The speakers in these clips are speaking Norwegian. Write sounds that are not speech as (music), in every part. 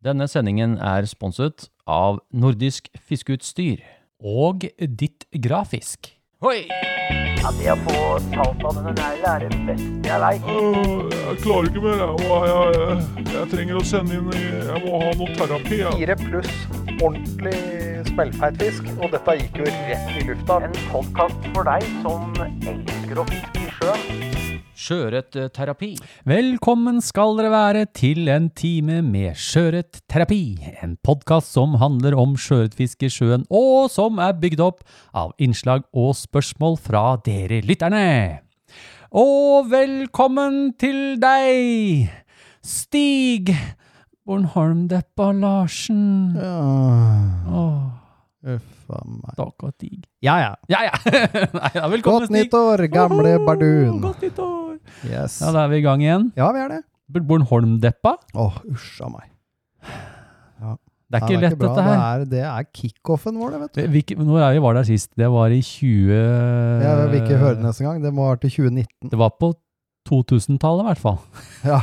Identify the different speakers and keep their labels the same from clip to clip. Speaker 1: Denne sendingen er sponset av Nordisk Fiskeutstyr.
Speaker 2: Og ditt grafisk.
Speaker 1: Hoi!
Speaker 3: Ja, det å få talt av denne negla er det beste jeg veit.
Speaker 4: Øh, Jeg klarer ikke mer. Jeg, Åh, jeg, jeg, jeg trenger å sende inn i- Jeg må ha noe terapi. Jeg.
Speaker 5: Fire pluss ordentlig smellfeit fisk, og dette gikk jo rett i lufta.
Speaker 3: En podkast for deg som elsker å fiske i sjøen.
Speaker 1: Sjøørretterapi.
Speaker 2: Velkommen skal dere være til en time med Sjøørretterapi. En podkast som handler om sjøørretfiske i sjøen, og som er bygd opp av innslag og spørsmål fra dere lytterne. Og velkommen til deg, Stig Bornholmdeppa Larsen.
Speaker 6: Ja,
Speaker 2: Åh,
Speaker 6: uff a meg.
Speaker 2: stakkars Stig.
Speaker 6: Ja, ja.
Speaker 2: Ja, (laughs) ja. Nei, ja, velkommen,
Speaker 6: Godt
Speaker 2: Stig.
Speaker 6: nyttår, gamle
Speaker 2: Oho,
Speaker 6: bardun.
Speaker 2: Godt nyttår.
Speaker 6: Yes.
Speaker 2: Ja, da er vi i gang igjen.
Speaker 6: Ja, vi er det.
Speaker 2: Bornholmdeppa?
Speaker 6: Åh, usj a meg.
Speaker 2: Det er
Speaker 6: Ja,
Speaker 2: ikke lett,
Speaker 6: bra.
Speaker 2: dette her.
Speaker 6: Det er, det er kickoffen vår, det, vet du.
Speaker 2: Hvilke, når er vi var der sist? Det var i 20... Eh.
Speaker 6: Jeg vil ikke høre det neste gang. Det må være til 2019.
Speaker 2: Det var på 2000-tallet i hvert fall. (laughs)
Speaker 6: Ja,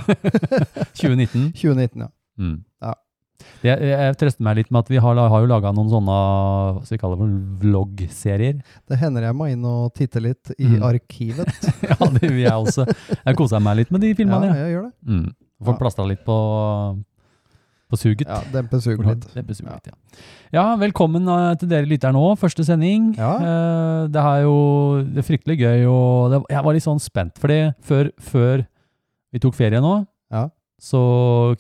Speaker 2: 2019.
Speaker 6: 2019, ja.
Speaker 2: Mm.
Speaker 6: Ja.
Speaker 2: Det, jeg, jeg trøster meg litt med at vi har, har jo laga noen sånne hva skal vi kalle det, for vloggserier.
Speaker 6: Det hender jeg må inn og titte litt i
Speaker 2: Mm.
Speaker 6: arkivet.
Speaker 2: (laughs) ja, det vil jeg også. Jeg kosa meg litt med de
Speaker 6: Ja,
Speaker 2: filmene. Ja.
Speaker 6: jeg gjør det.
Speaker 2: Mm. Folk
Speaker 6: Ja.
Speaker 2: plastra litt på, på suget.
Speaker 6: Ja, Dempe suget litt.
Speaker 2: Det besuger litt, ja. ja, velkommen eh, til dere lytter nå. Første sending.
Speaker 6: Ah.
Speaker 2: Eh, det er jo det er fryktelig gøy, og det, jeg var litt sånn spent, fordi før, før vi tok ferie nå,
Speaker 6: Ja.
Speaker 2: så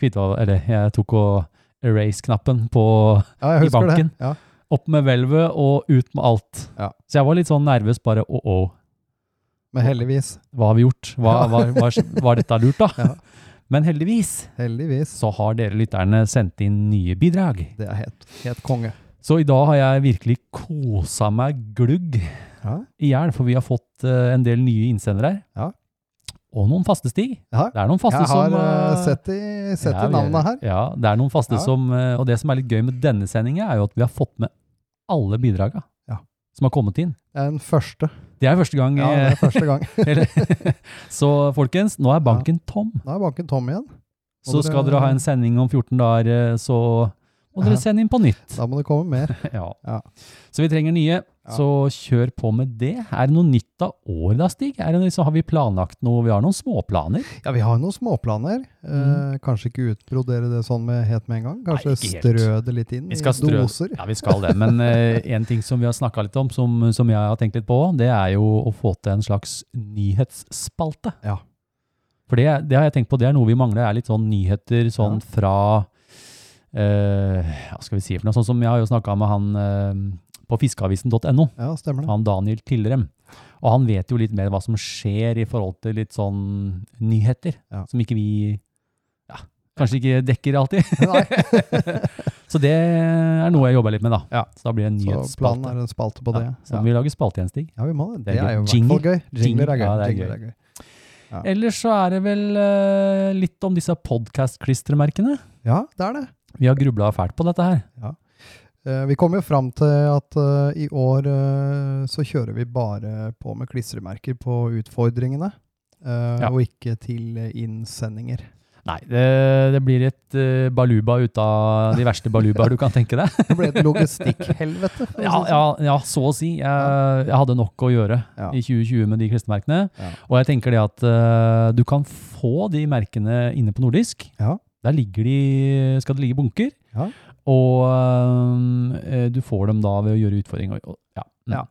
Speaker 2: kvitta Eller jeg tok og erase-knappen på
Speaker 6: Ja, jeg
Speaker 2: I
Speaker 6: husker det.
Speaker 2: banken.
Speaker 6: Ja.
Speaker 2: opp med hvelvet og ut med alt.
Speaker 6: Ja.
Speaker 2: Så jeg var litt sånn nervøs, bare å, å.
Speaker 6: Men heldigvis.
Speaker 2: Hva har vi gjort? Hva,
Speaker 6: Ja.
Speaker 2: var, var, var dette lurt, da?
Speaker 6: (laughs) Ja.
Speaker 2: Men heldigvis
Speaker 6: Heldigvis.
Speaker 2: så har dere lytterne sendt inn nye bidrag.
Speaker 6: Det er helt, helt konge.
Speaker 2: Så i dag har jeg virkelig kosa meg glugg
Speaker 6: Ja.
Speaker 2: i hjel, for vi har fått eh, en del nye innsendere her.
Speaker 6: Ja.
Speaker 2: Og noen faste stig.
Speaker 6: Ja.
Speaker 2: Det er noen faste
Speaker 6: Jeg har
Speaker 2: som
Speaker 6: eh,
Speaker 2: eh,
Speaker 6: sett i, sett
Speaker 2: ja,
Speaker 6: i
Speaker 2: vi-
Speaker 6: navnet her.
Speaker 2: Ja, det er noen faste
Speaker 6: Ja.
Speaker 2: som eh, Og det som er litt gøy med denne sendinga, er jo at vi har fått med alle bidraga
Speaker 6: Ja.
Speaker 2: som har kommet inn.
Speaker 6: Det er den første.
Speaker 2: Det er første gang.
Speaker 6: Ja, det
Speaker 2: eh,
Speaker 6: er første gang.
Speaker 2: eller- (laughs) så folkens, nå er banken tom.
Speaker 6: Nå er banken tom igjen. Må
Speaker 2: (laughs) Så
Speaker 6: dere-
Speaker 2: skal dere ha en sending om 14 dager, eh, så må
Speaker 6: Ja.
Speaker 2: dere sende inn på nytt.
Speaker 6: Da må det komme mer.
Speaker 2: Ja.
Speaker 6: Ja.
Speaker 2: Så vi trenger nye, så kjør på med det. Er det noe nytt av året da, Stig? Er det noe, så har vi planlagt noe? Vi har noen småplaner.
Speaker 6: Ja, vi har jo noen småplaner. Eh, kanskje ikke utbrodere det sånn med, helt med en gang. Kanskje
Speaker 2: Mm. Nei, ikke helt.
Speaker 6: strø det litt inn
Speaker 2: Vi skal
Speaker 6: i
Speaker 2: strø-
Speaker 6: doser.
Speaker 2: Ja, vi skal det. Men eh, en ting som vi har snakka litt om, som, som jeg har tenkt litt på, det er jo å få til en slags nyhetsspalte.
Speaker 6: Ja.
Speaker 2: For det, det har jeg tenkt på, det er noe vi mangler, er litt sånn nyheter sånn
Speaker 6: Ja.
Speaker 2: fra eh, Hva skal vi si for noe? Sånn som jeg har jo snakka med han eh, på fiskeavisen.no.
Speaker 6: Ja, stemmer det.
Speaker 2: han Daniel Tillerem. Og han vet jo litt mer hva som skjer i forhold til litt sånn nyheter,
Speaker 6: Ja.
Speaker 2: som ikke vi ja, kanskje ikke dekker alltid. (laughs)
Speaker 6: (laughs)
Speaker 2: så det er noe jeg jobber litt med, da.
Speaker 6: Ja.
Speaker 2: Så da blir det en
Speaker 6: Så planen
Speaker 2: nyhetsspalte.
Speaker 6: er en spalte på det.
Speaker 2: Ja, så
Speaker 6: Ja,
Speaker 2: vi lager spalte igjen, Stig.
Speaker 6: ja vi må det.
Speaker 2: Det er
Speaker 6: Det er
Speaker 2: gøy.
Speaker 6: jo i hvert fall gøy. Jingler er gøy.
Speaker 2: Ja, det er
Speaker 6: Jingler
Speaker 2: gøy.
Speaker 6: er gøy. Ja.
Speaker 2: Ellers så er det vel eh, litt om disse podkast-klistremerkene.
Speaker 6: Ja, det er det.
Speaker 2: Vi har grubla fælt på dette her.
Speaker 6: Eh, vi kom jo fram til at eh, i år eh, så kjører vi bare på med klistremerker på utfordringene, eh,
Speaker 2: Ja.
Speaker 6: og ikke til eh, innsendinger.
Speaker 2: Nei, det, det blir et eh, baluba ut av de verste balubaer du kan tenke deg.
Speaker 6: Det ble et logistikkhelvete. for å si det
Speaker 2: Ja,
Speaker 6: sånn.
Speaker 2: ja, ja, så å si. Jeg, jeg hadde nok å gjøre
Speaker 6: Ja.
Speaker 2: i 2020 med de klistremerkene.
Speaker 6: Ja.
Speaker 2: Og jeg tenker det at eh, du kan få de merkene inne på nordisk.
Speaker 6: Ja.
Speaker 2: Der ligger de, skal det ligge i bunker.
Speaker 6: Ja.
Speaker 2: Og eh, du får dem da ved å gjøre utfordringer. Og, ja. Mm.
Speaker 6: Ja.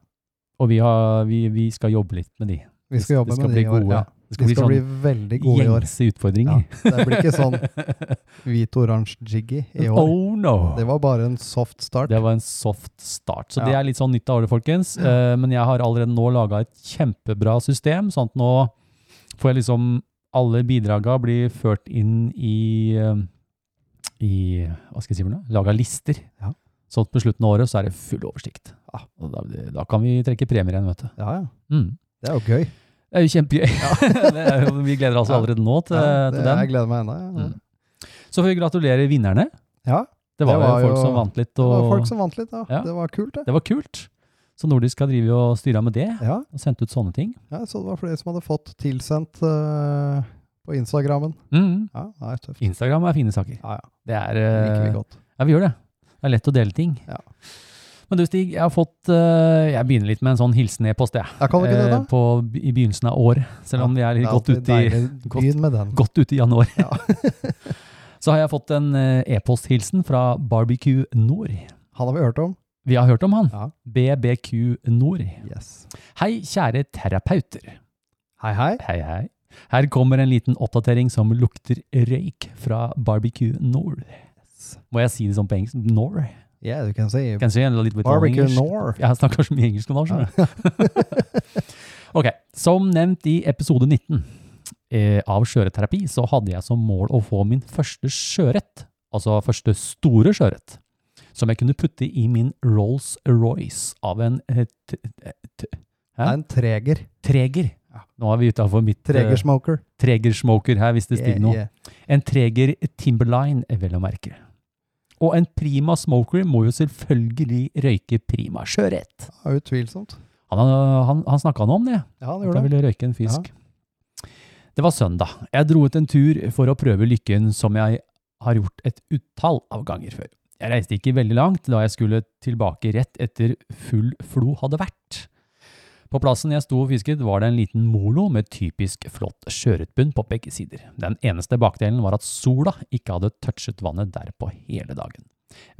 Speaker 2: og vi, har, vi, vi skal jobbe litt med de.
Speaker 6: Vi skal jobbe
Speaker 2: det skal
Speaker 6: med
Speaker 2: bli
Speaker 6: det i år.
Speaker 2: gode.
Speaker 6: Ja.
Speaker 2: Det
Speaker 6: De
Speaker 2: skal,
Speaker 6: skal bli
Speaker 2: bli
Speaker 6: veldig
Speaker 2: sånn
Speaker 6: gode i år.
Speaker 2: gjengse
Speaker 6: Ja,
Speaker 2: utfordringer. (laughs)
Speaker 6: det blir ikke sånn hvit-oransje jiggy i år.
Speaker 2: Oh no!
Speaker 6: Det var bare en soft start.
Speaker 2: Det var en soft start. Så
Speaker 6: Ja.
Speaker 2: det er litt sånn nytt av året, folkens. Eh, men jeg har allerede nå laga et kjempebra system, sånn at nå får jeg liksom alle bidraga blir ført inn i, eh, i Hva skal jeg si for noe? Laga lister.
Speaker 6: Ja. Ah.
Speaker 2: Så at på slutten av året så er det full oversikt.
Speaker 6: Ja.
Speaker 2: Og da, da kan vi trekke premier igjen, vet du.
Speaker 6: Ja, ja.
Speaker 2: Mm.
Speaker 6: Det er jo gøy.
Speaker 2: Det er jo kjempegøy. (laughs) Det er jo- vi gleder oss
Speaker 6: Ja.
Speaker 2: allerede nå til,
Speaker 6: Ja, det,
Speaker 2: til den.
Speaker 6: jeg gleder meg ennå. Ja.
Speaker 2: Mm. Så får vi gratulere vinnerne.
Speaker 6: Ja,
Speaker 2: Det var,
Speaker 6: Det var
Speaker 2: jo folk
Speaker 6: jo-
Speaker 2: som vant litt.
Speaker 6: det
Speaker 2: Og,
Speaker 6: var folk som vant litt, da.
Speaker 2: Ja.
Speaker 6: Det var kult, det.
Speaker 2: Det var kult. Så Nordisk har drevet og styra med det,
Speaker 6: Ja,
Speaker 2: og sendt ut sånne ting.
Speaker 6: ja, så det var flere som hadde fått tilsendt eh, på Instagrammen.
Speaker 2: Mm.
Speaker 6: Ja, det er tøft.
Speaker 2: Instagram er fine saker.
Speaker 6: Ja, ja.
Speaker 2: Det er
Speaker 6: Liker
Speaker 2: eh,
Speaker 6: vi godt.
Speaker 2: Ja, vi gjør det. Det er lett å dele ting.
Speaker 6: Ja.
Speaker 2: Men du, Stig, jeg har fått eh, Jeg begynner litt med en sånn hilsen-e-post, jeg.
Speaker 6: Ja, kan du ikke det,
Speaker 2: Eh,
Speaker 6: da?
Speaker 2: på, I begynnelsen av året, selv om vi er litt
Speaker 6: Det
Speaker 2: godt
Speaker 6: alltid
Speaker 2: ute i
Speaker 6: deilig
Speaker 2: godt-
Speaker 6: Begynn med
Speaker 2: (laughs)
Speaker 6: den.
Speaker 2: godt ute i januar.
Speaker 6: Ja.
Speaker 2: (laughs) så har jeg fått en eh, e-posthilsen fra Barbecue Nord.
Speaker 6: Han har vi hørt om.
Speaker 2: Vi har hørt om han.
Speaker 6: Ja.
Speaker 2: BBQ Nord.
Speaker 6: Yes.
Speaker 2: Hei, kjære terapeuter.
Speaker 6: Hei, hei.
Speaker 2: Hei, hei. Her kommer en liten oppdatering som lukter røyk fra Barbecue Nord. Må jeg si det sånn på engelsk? Nord?
Speaker 6: Yeah, du kan si
Speaker 2: Kanskje en litt litt
Speaker 6: Barbecue
Speaker 2: engelsk.
Speaker 6: Nor.
Speaker 2: Jeg snakker så mye engelsk nå, skjønner du. ok, som nevnt i episode 19 eh, av skjøreterapi, så hadde jeg som mål å få min første sjørett, altså første store sjørett, som jeg kunne putte i min Rolls-Royce av en eh, t- eh, t-
Speaker 6: Det er en treger.
Speaker 2: Eh, treger. Nå er vi utafor mitt eh,
Speaker 6: Tregersmoker.
Speaker 2: tregersmoker her, hvis det stiger noe.
Speaker 6: Yeah,
Speaker 2: En Treger Timberline, vel å merke. Og en Prima Smoker må jo selvfølgelig røyke Prima sjørett.
Speaker 6: yeah. Ja, utvilsomt.
Speaker 2: Han, han, han snakka nå om det.
Speaker 6: Ja, han
Speaker 2: At
Speaker 6: gjorde
Speaker 2: han
Speaker 6: det.
Speaker 2: ville røyke en fisk. Det var søndag. Jeg dro ut en tur for å prøve lykken som jeg har gjort et utall av ganger før. Jeg reiste ikke veldig langt da jeg skulle tilbake rett etter full flo hadde vært. På plassen jeg sto og fisket var det en liten molo med typisk flott sjøørretbunn på begge sider. Den eneste bakdelen var at sola ikke hadde touchet vannet derpå hele dagen.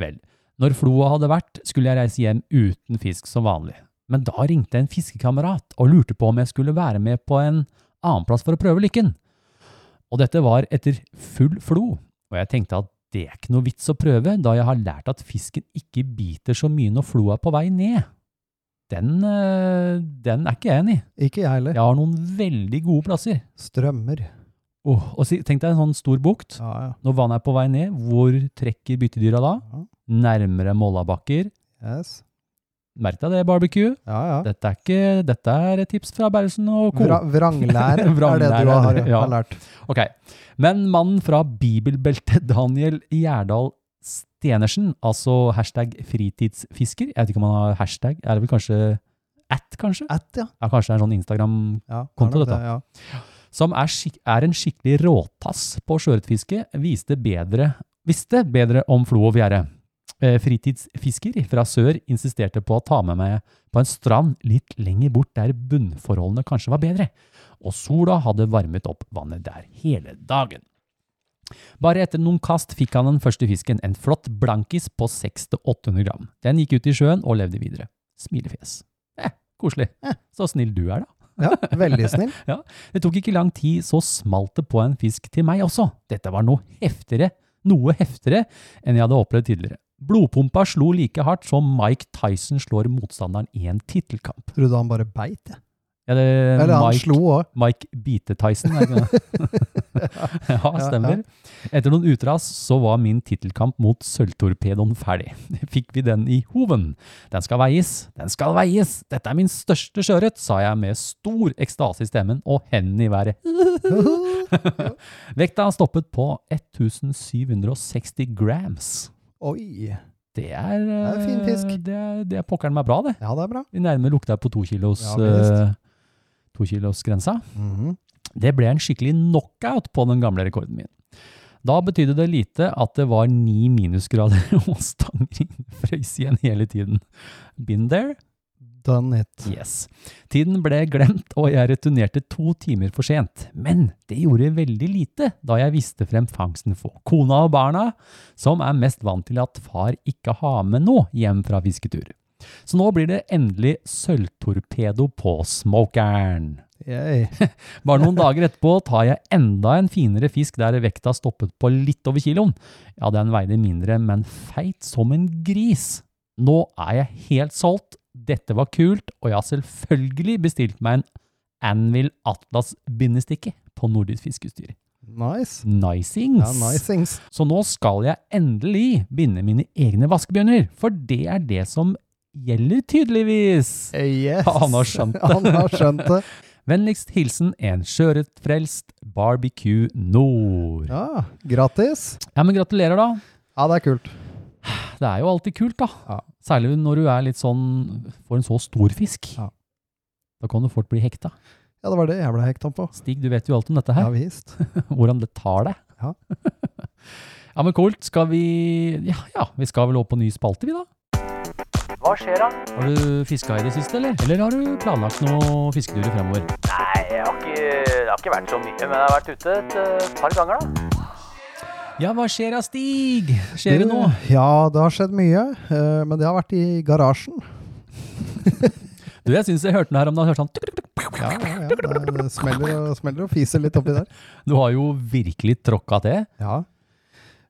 Speaker 2: Vel, når floa hadde vært, skulle jeg reise hjem uten fisk som vanlig. Men da ringte en fiskekamerat og lurte på om jeg skulle være med på en annen plass for å prøve lykken. Og dette var etter full flo, og jeg tenkte at det er ikke noe vits å prøve, da jeg har lært at fisken ikke biter så mye når floa er på vei ned. Den, eh, den er ikke jeg enig i.
Speaker 6: Ikke jeg heller.
Speaker 2: Jeg har noen veldig gode plasser.
Speaker 6: Strømmer.
Speaker 2: Åh, og si- tenk deg en sånn stor bukt.
Speaker 6: Ja, ja.
Speaker 2: Når vannet er på vei ned, hvor trekker byttedyra da?
Speaker 6: Ja.
Speaker 2: Nærmere mollabakker.
Speaker 6: Yes.
Speaker 2: Merk deg det, barbecue.
Speaker 6: Ja, ja.
Speaker 2: Dette er, ikke, dette er et tips fra Bergesen og co.
Speaker 6: Vra
Speaker 2: (laughs)
Speaker 6: vranglære er det du
Speaker 2: Vranglære,
Speaker 6: har,
Speaker 2: ja.
Speaker 6: har lært.
Speaker 2: Ok, men mannen fra bibelbeltet (laughs) Daniel Gjerdal Stenersen, altså hashtag fritidsfisker, jeg vet ikke om han har hashtag, er det vel kanskje at kanskje?
Speaker 6: At, ja.
Speaker 2: Ja, kanskje det er en sånn Instagram
Speaker 6: ja er
Speaker 2: Konto,
Speaker 6: nok
Speaker 2: dette.
Speaker 6: det, Ja.
Speaker 2: som er, skik er en skikkelig råtass på sjøørretfiske, viste bedre, visste bedre om flo og fjære. Eh, Fritidsfisker fra sør insisterte på å ta med meg på en strand litt lenger bort der bunnforholdene kanskje var bedre, og sola hadde varmet opp vannet der hele dagen. Bare etter noen kast fikk han den første fisken, en flott blankis på 600-800 gram. Den gikk ut i sjøen og levde videre. Smilefjes. Eh, koselig. Eh, så snill du er da.
Speaker 6: ja, veldig snill.
Speaker 2: Det tok ikke lang tid, så smalt det på en fisk til meg også. Dette var noe heftigere, noe heftigere enn jeg hadde opplevd tidligere. Blodpumpa slo like hardt som Mike Tyson slår motstanderen i en tittelkamp.
Speaker 6: Trodde han bare beit, jeg.
Speaker 2: Eller,
Speaker 6: Eller han
Speaker 2: Mike,
Speaker 6: slo òg.
Speaker 2: Mike Bite-Tyson, er det ikke
Speaker 6: (laughs)
Speaker 2: det? ja, stemmer. Etter noen utras så var min tittelkamp mot sølvtorpedoen ferdig. Fikk vi den i hoven. Den skal veies, den skal veies! Dette er min største sjøørret, sa jeg med stor ekstase i stemmen og hendene i været. (laughs) Vekta stoppet på 1760 grams.
Speaker 6: Oi.
Speaker 2: Det er, eh,
Speaker 6: er fin fisk.
Speaker 2: Det er, det er pokkeren meg bra, det.
Speaker 6: Ja, det er bra.
Speaker 2: Vi nærmer lukta på to kilos,
Speaker 6: Ja, visst.
Speaker 2: eh, to kilos grensa.
Speaker 6: Mhm.
Speaker 2: Det ble en skikkelig knockout på den gamle rekorden min. Da betydde det lite at det var ni minusgrader (laughs) og stanger frøys igjen hele tiden. Been there?
Speaker 6: Done it.
Speaker 2: Yes. Tiden ble glemt, og jeg returnerte to timer for sent. Men det gjorde veldig lite da jeg viste frem fangsten for kona og barna, som er mest vant til at far ikke har med noe hjem fra fisketur. Så nå blir det endelig sølvtorpedo på smokeren.
Speaker 6: Yay.
Speaker 2: Bare noen dager etterpå tar jeg enda en finere fisk der vekta stoppet på litt over kiloen. Ja, den veide mindre, men feit som en gris. Nå er jeg helt solgt. Dette var kult, og jeg har selvfølgelig bestilt meg en Anvil Atlas-bindestikke på Nordisk Fiskestyr.
Speaker 6: Nice.
Speaker 2: Nicings!
Speaker 6: Ja, nice things.
Speaker 2: Så nå skal jeg endelig binde mine egne vaskebjørner, for det er det som gjelder tydeligvis.
Speaker 6: Yes.
Speaker 2: Han har skjønt det.
Speaker 6: (laughs) Han har skjønt det.
Speaker 2: Vennligst hilsen en sjøørretfrelst Barbecue Nord. Ja.
Speaker 6: Ja, gratis.
Speaker 2: men gratulerer, da.
Speaker 6: Ja, det er kult.
Speaker 2: Det er jo alltid kult, da.
Speaker 6: Ja.
Speaker 2: Særlig når du er litt sånn Får en så stor fisk.
Speaker 6: Ja.
Speaker 2: Da kan du fort bli hekta.
Speaker 6: Ja, Ja, det var det jeg ble hekta på.
Speaker 2: Stig, du vet jo alt om dette her.
Speaker 6: Ja visst.
Speaker 2: (laughs) Hvordan det tar deg.
Speaker 6: Ja.
Speaker 2: (laughs) ja, men kult. Skal vi ja, ja, vi skal vel opp på ny spalte, vi da?
Speaker 3: Hva skjer da?
Speaker 2: Har du fiska i det siste, eller? Eller har du planlagt noen fisketurer fremover?
Speaker 3: Nei, jeg har ikke, det har ikke vært så mye, men jeg har vært ute et eh, par ganger da.
Speaker 2: Ja, hva skjer da, Stig? Skjer det
Speaker 6: Du,
Speaker 2: nå?
Speaker 6: Ja, det har skjedd mye. eh, Men det har vært i garasjen.
Speaker 2: Du, jeg syns jeg hørte noe her om dagen. Hørte sånn tuk, tuk, tuk.
Speaker 6: Ja,
Speaker 2: (laughs)
Speaker 6: ja, ja. Det det smeller og, smeller og fiser litt oppi der.
Speaker 2: Du har jo virkelig tråkka til.
Speaker 6: Ja.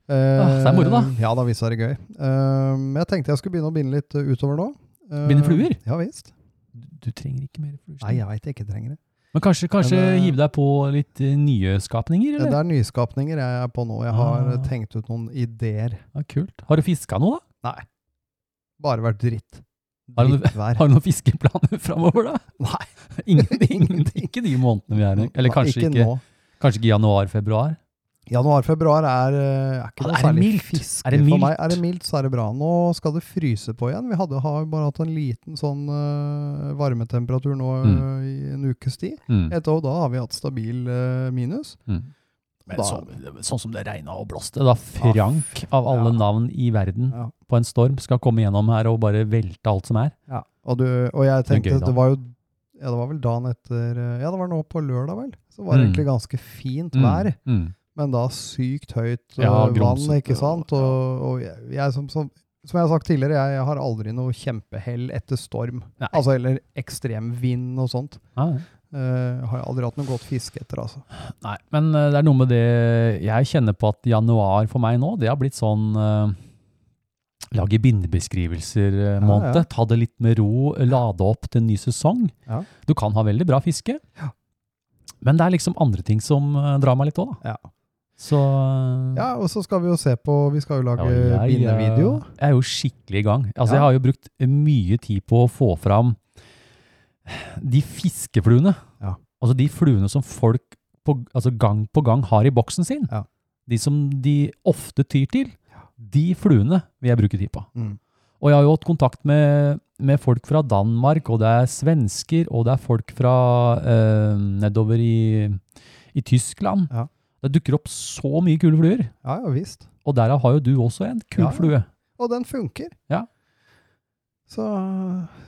Speaker 2: Ah, det er moro, da.
Speaker 6: Eh, Ja da, visst er det gøy. Eh, Men jeg tenkte jeg skulle begynne å binde litt eh, utover nå. Eh,
Speaker 2: Binde fluer?
Speaker 6: Ja visst.
Speaker 2: Du trenger ikke mer fluer.
Speaker 6: Nei,
Speaker 2: Stig.
Speaker 6: jeg veit jeg ikke trenger det.
Speaker 2: Men kanskje, kanskje
Speaker 6: Men, eh,
Speaker 2: hive deg på litt eh, nye skapninger,
Speaker 6: Det
Speaker 2: eller?
Speaker 6: er nyskapninger jeg er på nå. Jeg har
Speaker 2: Ah.
Speaker 6: tenkt ut noen ideer.
Speaker 2: Ja, kult. Har du fiska noe, da?
Speaker 6: Bare vært dritt.
Speaker 2: Har du-
Speaker 6: Drittvær.
Speaker 2: Har du noen fiskeplaner (laughs) framover, da?
Speaker 6: Nei.
Speaker 2: (laughs) Ingen, ingen, ikke de månedene vi er i. Eller
Speaker 6: Nei,
Speaker 2: kanskje ikke,
Speaker 6: nå.
Speaker 2: kanskje ikke januar-februar.
Speaker 6: Januar-februar er, eh, er
Speaker 2: Ja,
Speaker 6: ikke
Speaker 2: Ah, er
Speaker 6: noe
Speaker 2: det
Speaker 6: særlig
Speaker 2: mildt?
Speaker 6: fiske
Speaker 2: Er det
Speaker 6: for meg.
Speaker 2: mildt?
Speaker 6: Er det mildt, så er det bra. Nå skal det fryse på igjen. Vi hadde, har jo bare hatt en liten sånn eh, varmetemperatur nå
Speaker 2: Mm.
Speaker 6: eh, i en ukes tid.
Speaker 2: Mm.
Speaker 6: Etter og da har vi hatt stabil eh, minus.
Speaker 2: Mm.
Speaker 6: Da-
Speaker 2: Men sånn, sånn som det regna og blåste, da Frank av alle
Speaker 6: Ja.
Speaker 2: navn i verden
Speaker 6: Ja.
Speaker 2: på en storm skal komme gjennom her og bare velte alt som er.
Speaker 6: Og, du, og jeg
Speaker 2: Det er
Speaker 6: tenkte
Speaker 2: gøy,
Speaker 6: at
Speaker 2: da.
Speaker 6: det var jo ja, det var vel dagen etter eh, Ja, det var nå på lørdag, vel. Så var det
Speaker 2: Mm.
Speaker 6: egentlig ganske fint
Speaker 2: Mm,
Speaker 6: vær,
Speaker 2: Mm.
Speaker 6: men da sykt høyt eh,
Speaker 2: Ja,
Speaker 6: vann,
Speaker 2: grumsete
Speaker 6: ikke sant?
Speaker 2: og-
Speaker 6: Og, og jeg, jeg som, som, som jeg har sagt tidligere, jeg, jeg har aldri noe kjempehell etter storm.
Speaker 2: Nei.
Speaker 6: Altså, eller ekstrem vind og sånt.
Speaker 2: Ja, ja.
Speaker 6: Eh, har jeg aldri hatt noe godt fiske etter, altså.
Speaker 2: Nei, men eh, det er noe med det jeg kjenner på at januar for meg nå, det har blitt sånn eh, Lage
Speaker 6: Ja,
Speaker 2: bindebeskrivelser-måned.
Speaker 6: ja.
Speaker 2: Ta det litt med ro, lade opp til en ny sesong.
Speaker 6: Ja.
Speaker 2: Du kan ha veldig bra fiske,
Speaker 6: Ja.
Speaker 2: men det er liksom andre ting som eh, drar meg litt òg, da.
Speaker 6: Ja.
Speaker 2: Så eh,
Speaker 6: Ja, og så skal vi jo se på Vi skal jo lage
Speaker 2: Ja, jeg- eh,
Speaker 6: bindevideo.
Speaker 2: Jeg er jo skikkelig i gang. Altså,
Speaker 6: Ja.
Speaker 2: Jeg har jo brukt mye tid på å få fram de fiskefluene.
Speaker 6: Ja.
Speaker 2: Altså de fluene som folk på, altså gang på gang har i boksen sin.
Speaker 6: Ja.
Speaker 2: De som de ofte tyr til. De fluene vil jeg bruke tid på.
Speaker 6: Mm.
Speaker 2: Og jeg har jo hatt kontakt med, med folk fra Danmark, og det er svensker, og det er folk fra eh, nedover i, i Tyskland.
Speaker 6: Ja.
Speaker 2: Det dukker opp så mye kule fluer.
Speaker 6: Ja, ja visst.
Speaker 2: Og derav har jo du også en kul
Speaker 6: Ja, ja.
Speaker 2: flue.
Speaker 6: Og den funker.
Speaker 2: Ja.
Speaker 6: Så,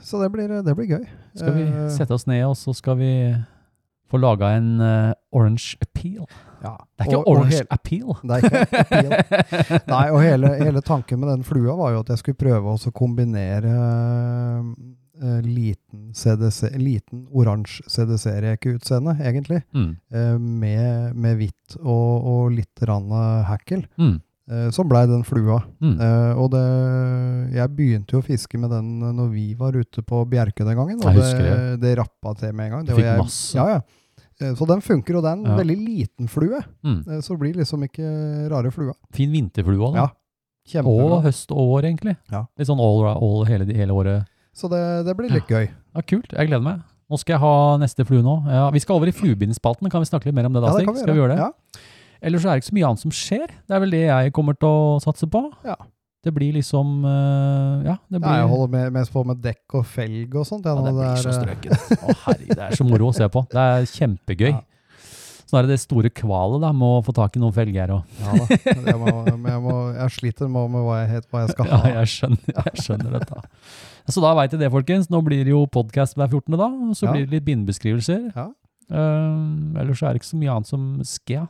Speaker 6: så det, blir, det blir gøy.
Speaker 2: Skal vi
Speaker 6: Eh,
Speaker 2: sette oss ned, og så skal vi få laga en eh, orange appeal.
Speaker 6: ja.
Speaker 2: Det er ikke
Speaker 6: Og- og
Speaker 2: orange
Speaker 6: hel-
Speaker 2: appeal.
Speaker 6: Det er ikke appeal. Nei, og hele, hele tanken med den flua var jo at jeg skulle prøve også å kombinere eh, liten, CDC, liten oransje CDC-rekeutseende, egentlig,
Speaker 2: Mm.
Speaker 6: eh, med, med hvitt og, og litt rann hackel,
Speaker 2: Mm.
Speaker 6: eh, som blei den flua.
Speaker 2: Mm.
Speaker 6: Eh, og det, jeg begynte jo å fiske med den eh, når vi var ute på Bjerke den gangen, og
Speaker 2: Jeg
Speaker 6: det,
Speaker 2: husker det.
Speaker 6: det rappa til med en gang.
Speaker 2: Du
Speaker 6: Det var
Speaker 2: fikk
Speaker 6: jeg-
Speaker 2: masse.
Speaker 6: Ja, ja. Eh, Så den funker, og det er en
Speaker 2: Ja.
Speaker 6: veldig liten flue.
Speaker 2: Mm.
Speaker 6: eh, Så det blir liksom ikke rare flua.
Speaker 2: Fin vinterflue òg, da.
Speaker 6: Ja,
Speaker 2: og
Speaker 6: Kjempebra.
Speaker 2: høst og vår, egentlig.
Speaker 6: Ja.
Speaker 2: Litt sånn all, all hele, hele året.
Speaker 6: Så det, det blir litt gøy.
Speaker 2: Ja, Kult. Jeg gleder meg. Nå skal jeg ha neste flue nå. Ja, vi skal over i fluebindspalten. Kan vi snakke litt mer om det da,
Speaker 6: Ja, det
Speaker 2: Stig?
Speaker 6: kan vi
Speaker 2: skal vi
Speaker 6: gjøre.
Speaker 2: gjøre det?
Speaker 6: Ja.
Speaker 2: Ellers så er det ikke så mye annet som skjer. Det er vel det jeg kommer til å satse på.
Speaker 6: Ja.
Speaker 2: Det blir liksom eh, Ja, det blir
Speaker 6: Nei, jeg holder med, mest på med dekk og felg og sånt.
Speaker 2: Ja,
Speaker 6: jeg, nå.
Speaker 2: det blir så
Speaker 6: er, eh,
Speaker 2: strøket. (laughs) Å, herregud, det er så moro å se på. Det er kjempegøy.
Speaker 6: Ja.
Speaker 2: Så nå er det det store kvalet da, med å få tak i noen felger. Og...
Speaker 6: eh, (laughs) Ja da. Jeg, må, men jeg, må, jeg sliter med, med hva jeg het, hva jeg skal
Speaker 2: (laughs) Ja,
Speaker 6: ha.
Speaker 2: jeg skjønner, jeg skjønner dette. Så da veit jeg det, folkens. Nå blir det jo podkast hver 14. da, og så
Speaker 6: Ja.
Speaker 2: blir det litt bindebeskrivelser.
Speaker 6: Ja.
Speaker 2: Eh, ellers er det ikke så mye annet som skjer.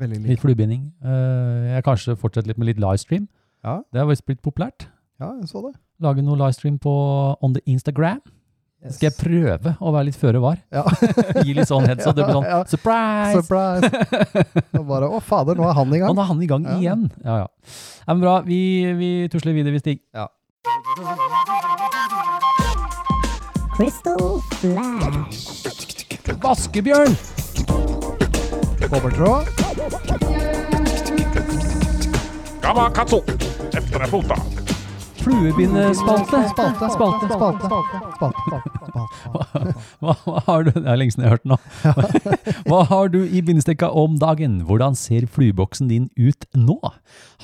Speaker 6: Veldig
Speaker 2: Litt
Speaker 6: liten.
Speaker 2: fluebinding. Eh, jeg kanskje fortsetter litt med litt livestream.
Speaker 6: Ja.
Speaker 2: Det har visst blitt populært.
Speaker 6: Ja, jeg så det.
Speaker 2: Lage noe livestream på on the Instagram.
Speaker 6: Yes.
Speaker 2: Skal jeg prøve å være litt føre var?
Speaker 6: Ja. (laughs)
Speaker 2: Gi litt sånn heads, og det blir sånn
Speaker 6: Ja, ja.
Speaker 2: surprise! (laughs)
Speaker 6: Surprise! Og bare, å fader, nå er han i gang.
Speaker 2: Nå er han i gang
Speaker 6: Ja.
Speaker 2: igjen. Ja, ja. ja men bra, vi, vi tusler videre, vi Stig.
Speaker 7: Crystal Flash.
Speaker 2: Vaskebjørn!
Speaker 6: Kobbertråd.
Speaker 4: Gamakatsu! Efter en fota.
Speaker 2: Eh, Fluebindespalte.
Speaker 6: Spalte, spalte, spalte.
Speaker 2: (laughs) Hva, hva har du? Det er lenge siden jeg har hørt den
Speaker 6: (laughs)
Speaker 2: nå. Hva har du i bindestekka om dagen? Hvordan ser flueboksen din ut nå?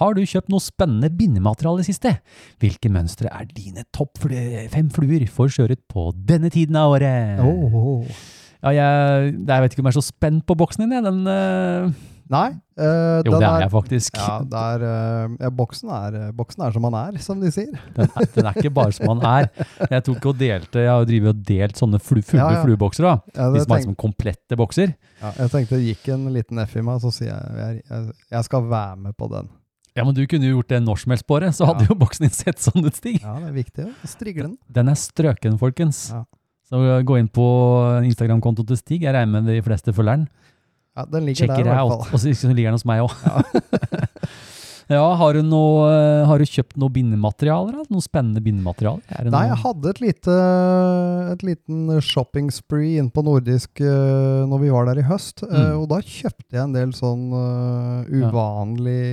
Speaker 2: Har du kjøpt noe spennende bindemateriale i siste? Hvilke mønstre er dine topp flu- fem fluer for skjøret på denne tiden av året?
Speaker 6: Åh,
Speaker 2: Ja, jeg, jeg vet ikke om jeg er så spent på boksen din, jeg. Den, eh,
Speaker 6: Nei. eh,
Speaker 2: jo,
Speaker 6: den
Speaker 2: det er jeg faktisk.
Speaker 6: Ja, det er, eh, ja boksen, er, eh, boksen er som han er, som de sier.
Speaker 2: Den, er, den er ikke bare som han er. Jeg tok og delte, jeg har jo drevet og delt sånne flu, fulle
Speaker 6: Ja, ja.
Speaker 2: fluebokser, da.
Speaker 6: Ja,
Speaker 2: De
Speaker 6: det
Speaker 2: som er
Speaker 6: tenk-
Speaker 2: som komplette bokser.
Speaker 6: ja, jeg tenkte det gikk en liten F i meg, så sier jeg jeg, jeg jeg skal være med på den.
Speaker 2: Ja, men du kunne jo gjort det når som helst, Båre. Så hadde
Speaker 6: Ja.
Speaker 2: jo boksen din sett sånn ut, Stig.
Speaker 6: Ja, det er viktig å strigle den.
Speaker 2: Den er strøken, folkens.
Speaker 6: Ja.
Speaker 2: Så gå inn på Instagram-kontoen til Stig. Jeg regner med de fleste følger den.
Speaker 6: Ja, den ligger
Speaker 2: Check
Speaker 6: der, i
Speaker 2: it
Speaker 6: hvert
Speaker 2: out.
Speaker 6: fall.
Speaker 2: Og så så ligger den hos meg òg. (laughs) Ja. har, du noe, eh, har du kjøpt noe bindematerialer? da? Noe spennende bindematerialer? Er det
Speaker 6: Nei,
Speaker 2: noe-
Speaker 6: jeg hadde et lite et liten shopping spree inn på nordisk eh, når vi var der i høst. eh,
Speaker 2: Mm.
Speaker 6: Og da kjøpte jeg en del sånn eh,
Speaker 2: Ja.
Speaker 6: uvanlig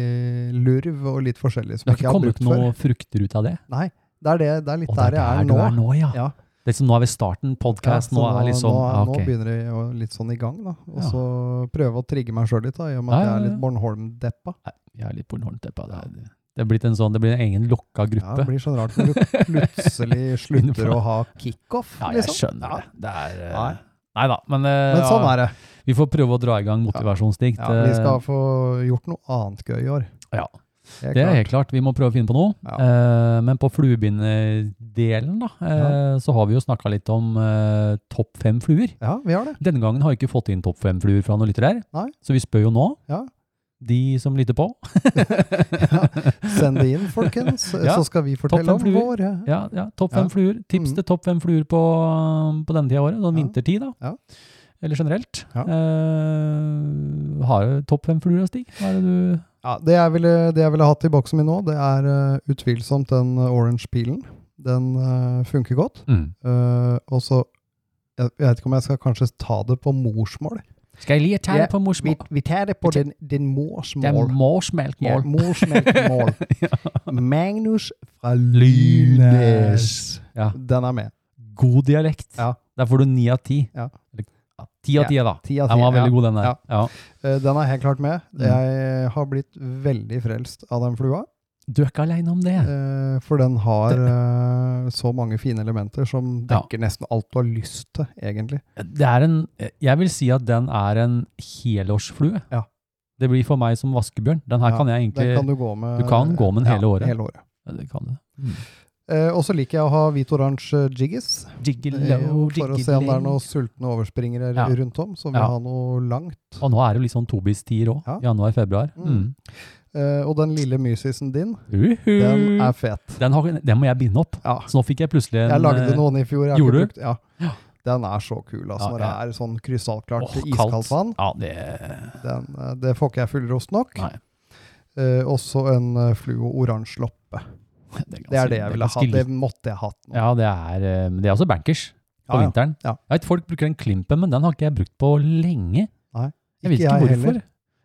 Speaker 6: lurv og litt forskjellig
Speaker 2: Det
Speaker 6: som
Speaker 2: har ikke
Speaker 6: jeg ikke har
Speaker 2: kommet
Speaker 6: brukt
Speaker 2: noe
Speaker 6: før.
Speaker 2: frukter ut av det?
Speaker 6: Nei, det er, det, det er litt
Speaker 2: Å,
Speaker 6: der jeg er
Speaker 2: du
Speaker 6: nå.
Speaker 2: er nå, ja.
Speaker 6: Ja.
Speaker 2: Det er liksom, nå er vi starten, podcast,
Speaker 6: Ja, så
Speaker 2: nå er liksom
Speaker 6: nå,
Speaker 2: ah, ok.
Speaker 6: nå begynner jeg å litt sånn i gang, da. Og
Speaker 2: Ja.
Speaker 6: så prøve å trigge meg sjøl litt, da, i og med
Speaker 2: Ja,
Speaker 6: at
Speaker 2: ja,
Speaker 6: jeg er
Speaker 2: ja.
Speaker 6: litt Bornholm-deppa.
Speaker 2: Nei, Jeg er litt på Nordtepa. Det, er- det er blitt en sånn, det blir en egen lokka
Speaker 6: Ja, det
Speaker 2: gruppe.
Speaker 6: blir sånn rart når du
Speaker 2: (laughs)
Speaker 6: plutselig slutter å ha kickoff,
Speaker 2: Ja, jeg
Speaker 6: liksom.
Speaker 2: skjønner
Speaker 6: Ja.
Speaker 2: det. Det er eh,
Speaker 6: Nei.
Speaker 2: Nei da, men, eh,
Speaker 6: Men sånn
Speaker 2: ja,
Speaker 6: er det.
Speaker 2: vi får prøve å dra i gang motivasjonsdikt.
Speaker 6: Ja, vi
Speaker 2: eh,
Speaker 6: skal få gjort noe annet gøy i år.
Speaker 2: Ja.
Speaker 6: Helt
Speaker 2: Det er
Speaker 6: klart.
Speaker 2: helt klart. Vi må prøve å finne på noe.
Speaker 6: Ja.
Speaker 2: Eh, men på fluebinderdelen, da, eh, så har vi jo snakka litt om eh, topp fem fluer.
Speaker 6: Ja, vi har det.
Speaker 2: Denne gangen har jeg ikke fått inn topp fem fluer fra noen lyttere her,
Speaker 6: Nei.
Speaker 2: så vi spør jo nå.
Speaker 6: Ja.
Speaker 2: De som lytter på.
Speaker 6: Send det
Speaker 2: (laughs)
Speaker 6: inn, folkens,
Speaker 2: Ja.
Speaker 6: så skal vi fortelle
Speaker 2: fem
Speaker 6: om
Speaker 2: fluer.
Speaker 6: vår. Ja.
Speaker 2: Ja, ja topp fem
Speaker 6: Ja.
Speaker 2: fluer. Tips
Speaker 6: Mhm.
Speaker 2: til topp fem fluer på, på denne tida av året, sånn
Speaker 6: Ja.
Speaker 2: vintertid, da.
Speaker 6: Ja.
Speaker 2: Eller generelt.
Speaker 6: Ja.
Speaker 2: Eh, har du topp fem fluer, Stig? Hva er det du
Speaker 6: Ja, det, jeg ville, det jeg ville hatt i boksen min nå, det er eh, utvilsomt den eh, orange pilen. Den eh, funker godt. Eh, og så jeg, jeg vet ikke om jeg skal kanskje ta det på morsmål.
Speaker 2: Skal jeg li et
Speaker 6: Ja,
Speaker 2: på morsmål?
Speaker 6: tar det
Speaker 2: på din-
Speaker 6: morsmål.
Speaker 2: Det er morsmelkmål. (laughs)
Speaker 6: morsmelkmål. Magnus fra
Speaker 2: Lynes. Ja.
Speaker 6: Den er med.
Speaker 2: God dialekt.
Speaker 6: Ja.
Speaker 2: Der får du ni av ti.
Speaker 6: Ja.
Speaker 2: Eller, ja, Ti av ti, da.
Speaker 6: Ti av ti,
Speaker 2: Den var veldig
Speaker 6: ja.
Speaker 2: god, den der.
Speaker 6: Ja.
Speaker 2: Ja.
Speaker 6: Eh, Den er helt klart med.
Speaker 2: Mm.
Speaker 6: Jeg har blitt veldig frelst av den flua.
Speaker 2: Du er ikke aleine om det.
Speaker 6: eh, For den har eh, så mange fine elementer som
Speaker 2: Ja.
Speaker 6: dekker nesten alt du har lyst til, egentlig.
Speaker 2: Det er en, jeg vil si at den er en helårsflue.
Speaker 6: Ja.
Speaker 2: Det blir for meg som vaskebjørn. Den her
Speaker 6: Ja,
Speaker 2: kan jeg egentlig
Speaker 6: Den kan du gå med,
Speaker 2: du kan gå med den
Speaker 6: ja,
Speaker 2: hele året.
Speaker 6: Hele året.
Speaker 2: Ja, det kan du.
Speaker 6: Eh, Og så liker jeg å ha hvit-oransje jiggis. eh,
Speaker 2: Jiggelo,
Speaker 6: For å se om det er
Speaker 2: jiggelo.
Speaker 6: noen sultne overspringere
Speaker 2: Ja.
Speaker 6: rundt om som vil
Speaker 2: Ja.
Speaker 6: ha noe langt.
Speaker 2: Og nå er det jo litt sånn tobis-tider òg.
Speaker 6: Ja.
Speaker 2: Januar-februar. Mm.
Speaker 6: Mm. Eh, Og den lille mysisen din,
Speaker 2: Uhu.
Speaker 6: den er fet.
Speaker 2: Den, har, den må jeg binde opp.
Speaker 6: Ja.
Speaker 2: Så nå fikk jeg plutselig en eh,
Speaker 6: Jeg lagde noen i fjor. Jeg har
Speaker 2: gjorde du?
Speaker 6: ikke brukt, ja.
Speaker 2: Ja.
Speaker 6: Den er så kul.
Speaker 2: Ja,
Speaker 6: altså Når det
Speaker 2: ja.
Speaker 6: er sånn krystallklart
Speaker 2: Åh,
Speaker 6: iskaldt vann.
Speaker 2: Ja, det
Speaker 6: Den, eh, det får ikke jeg fullrost nok.
Speaker 2: Nei.
Speaker 6: Eh, også en eh, fluo-oransje loppe. Det er det jeg ville ha. Det måtte jeg hatt nå.
Speaker 2: Ja, det er, eh, men det er også bankers på
Speaker 6: Ja, ja.
Speaker 2: vinteren.
Speaker 6: Ja.
Speaker 2: Jeg vet folk bruker den klimpen, men den har ikke jeg brukt på lenge.
Speaker 6: Nei,
Speaker 2: Jeg vet
Speaker 6: ikke
Speaker 2: ikke
Speaker 6: jeg
Speaker 2: hvorfor.
Speaker 6: heller.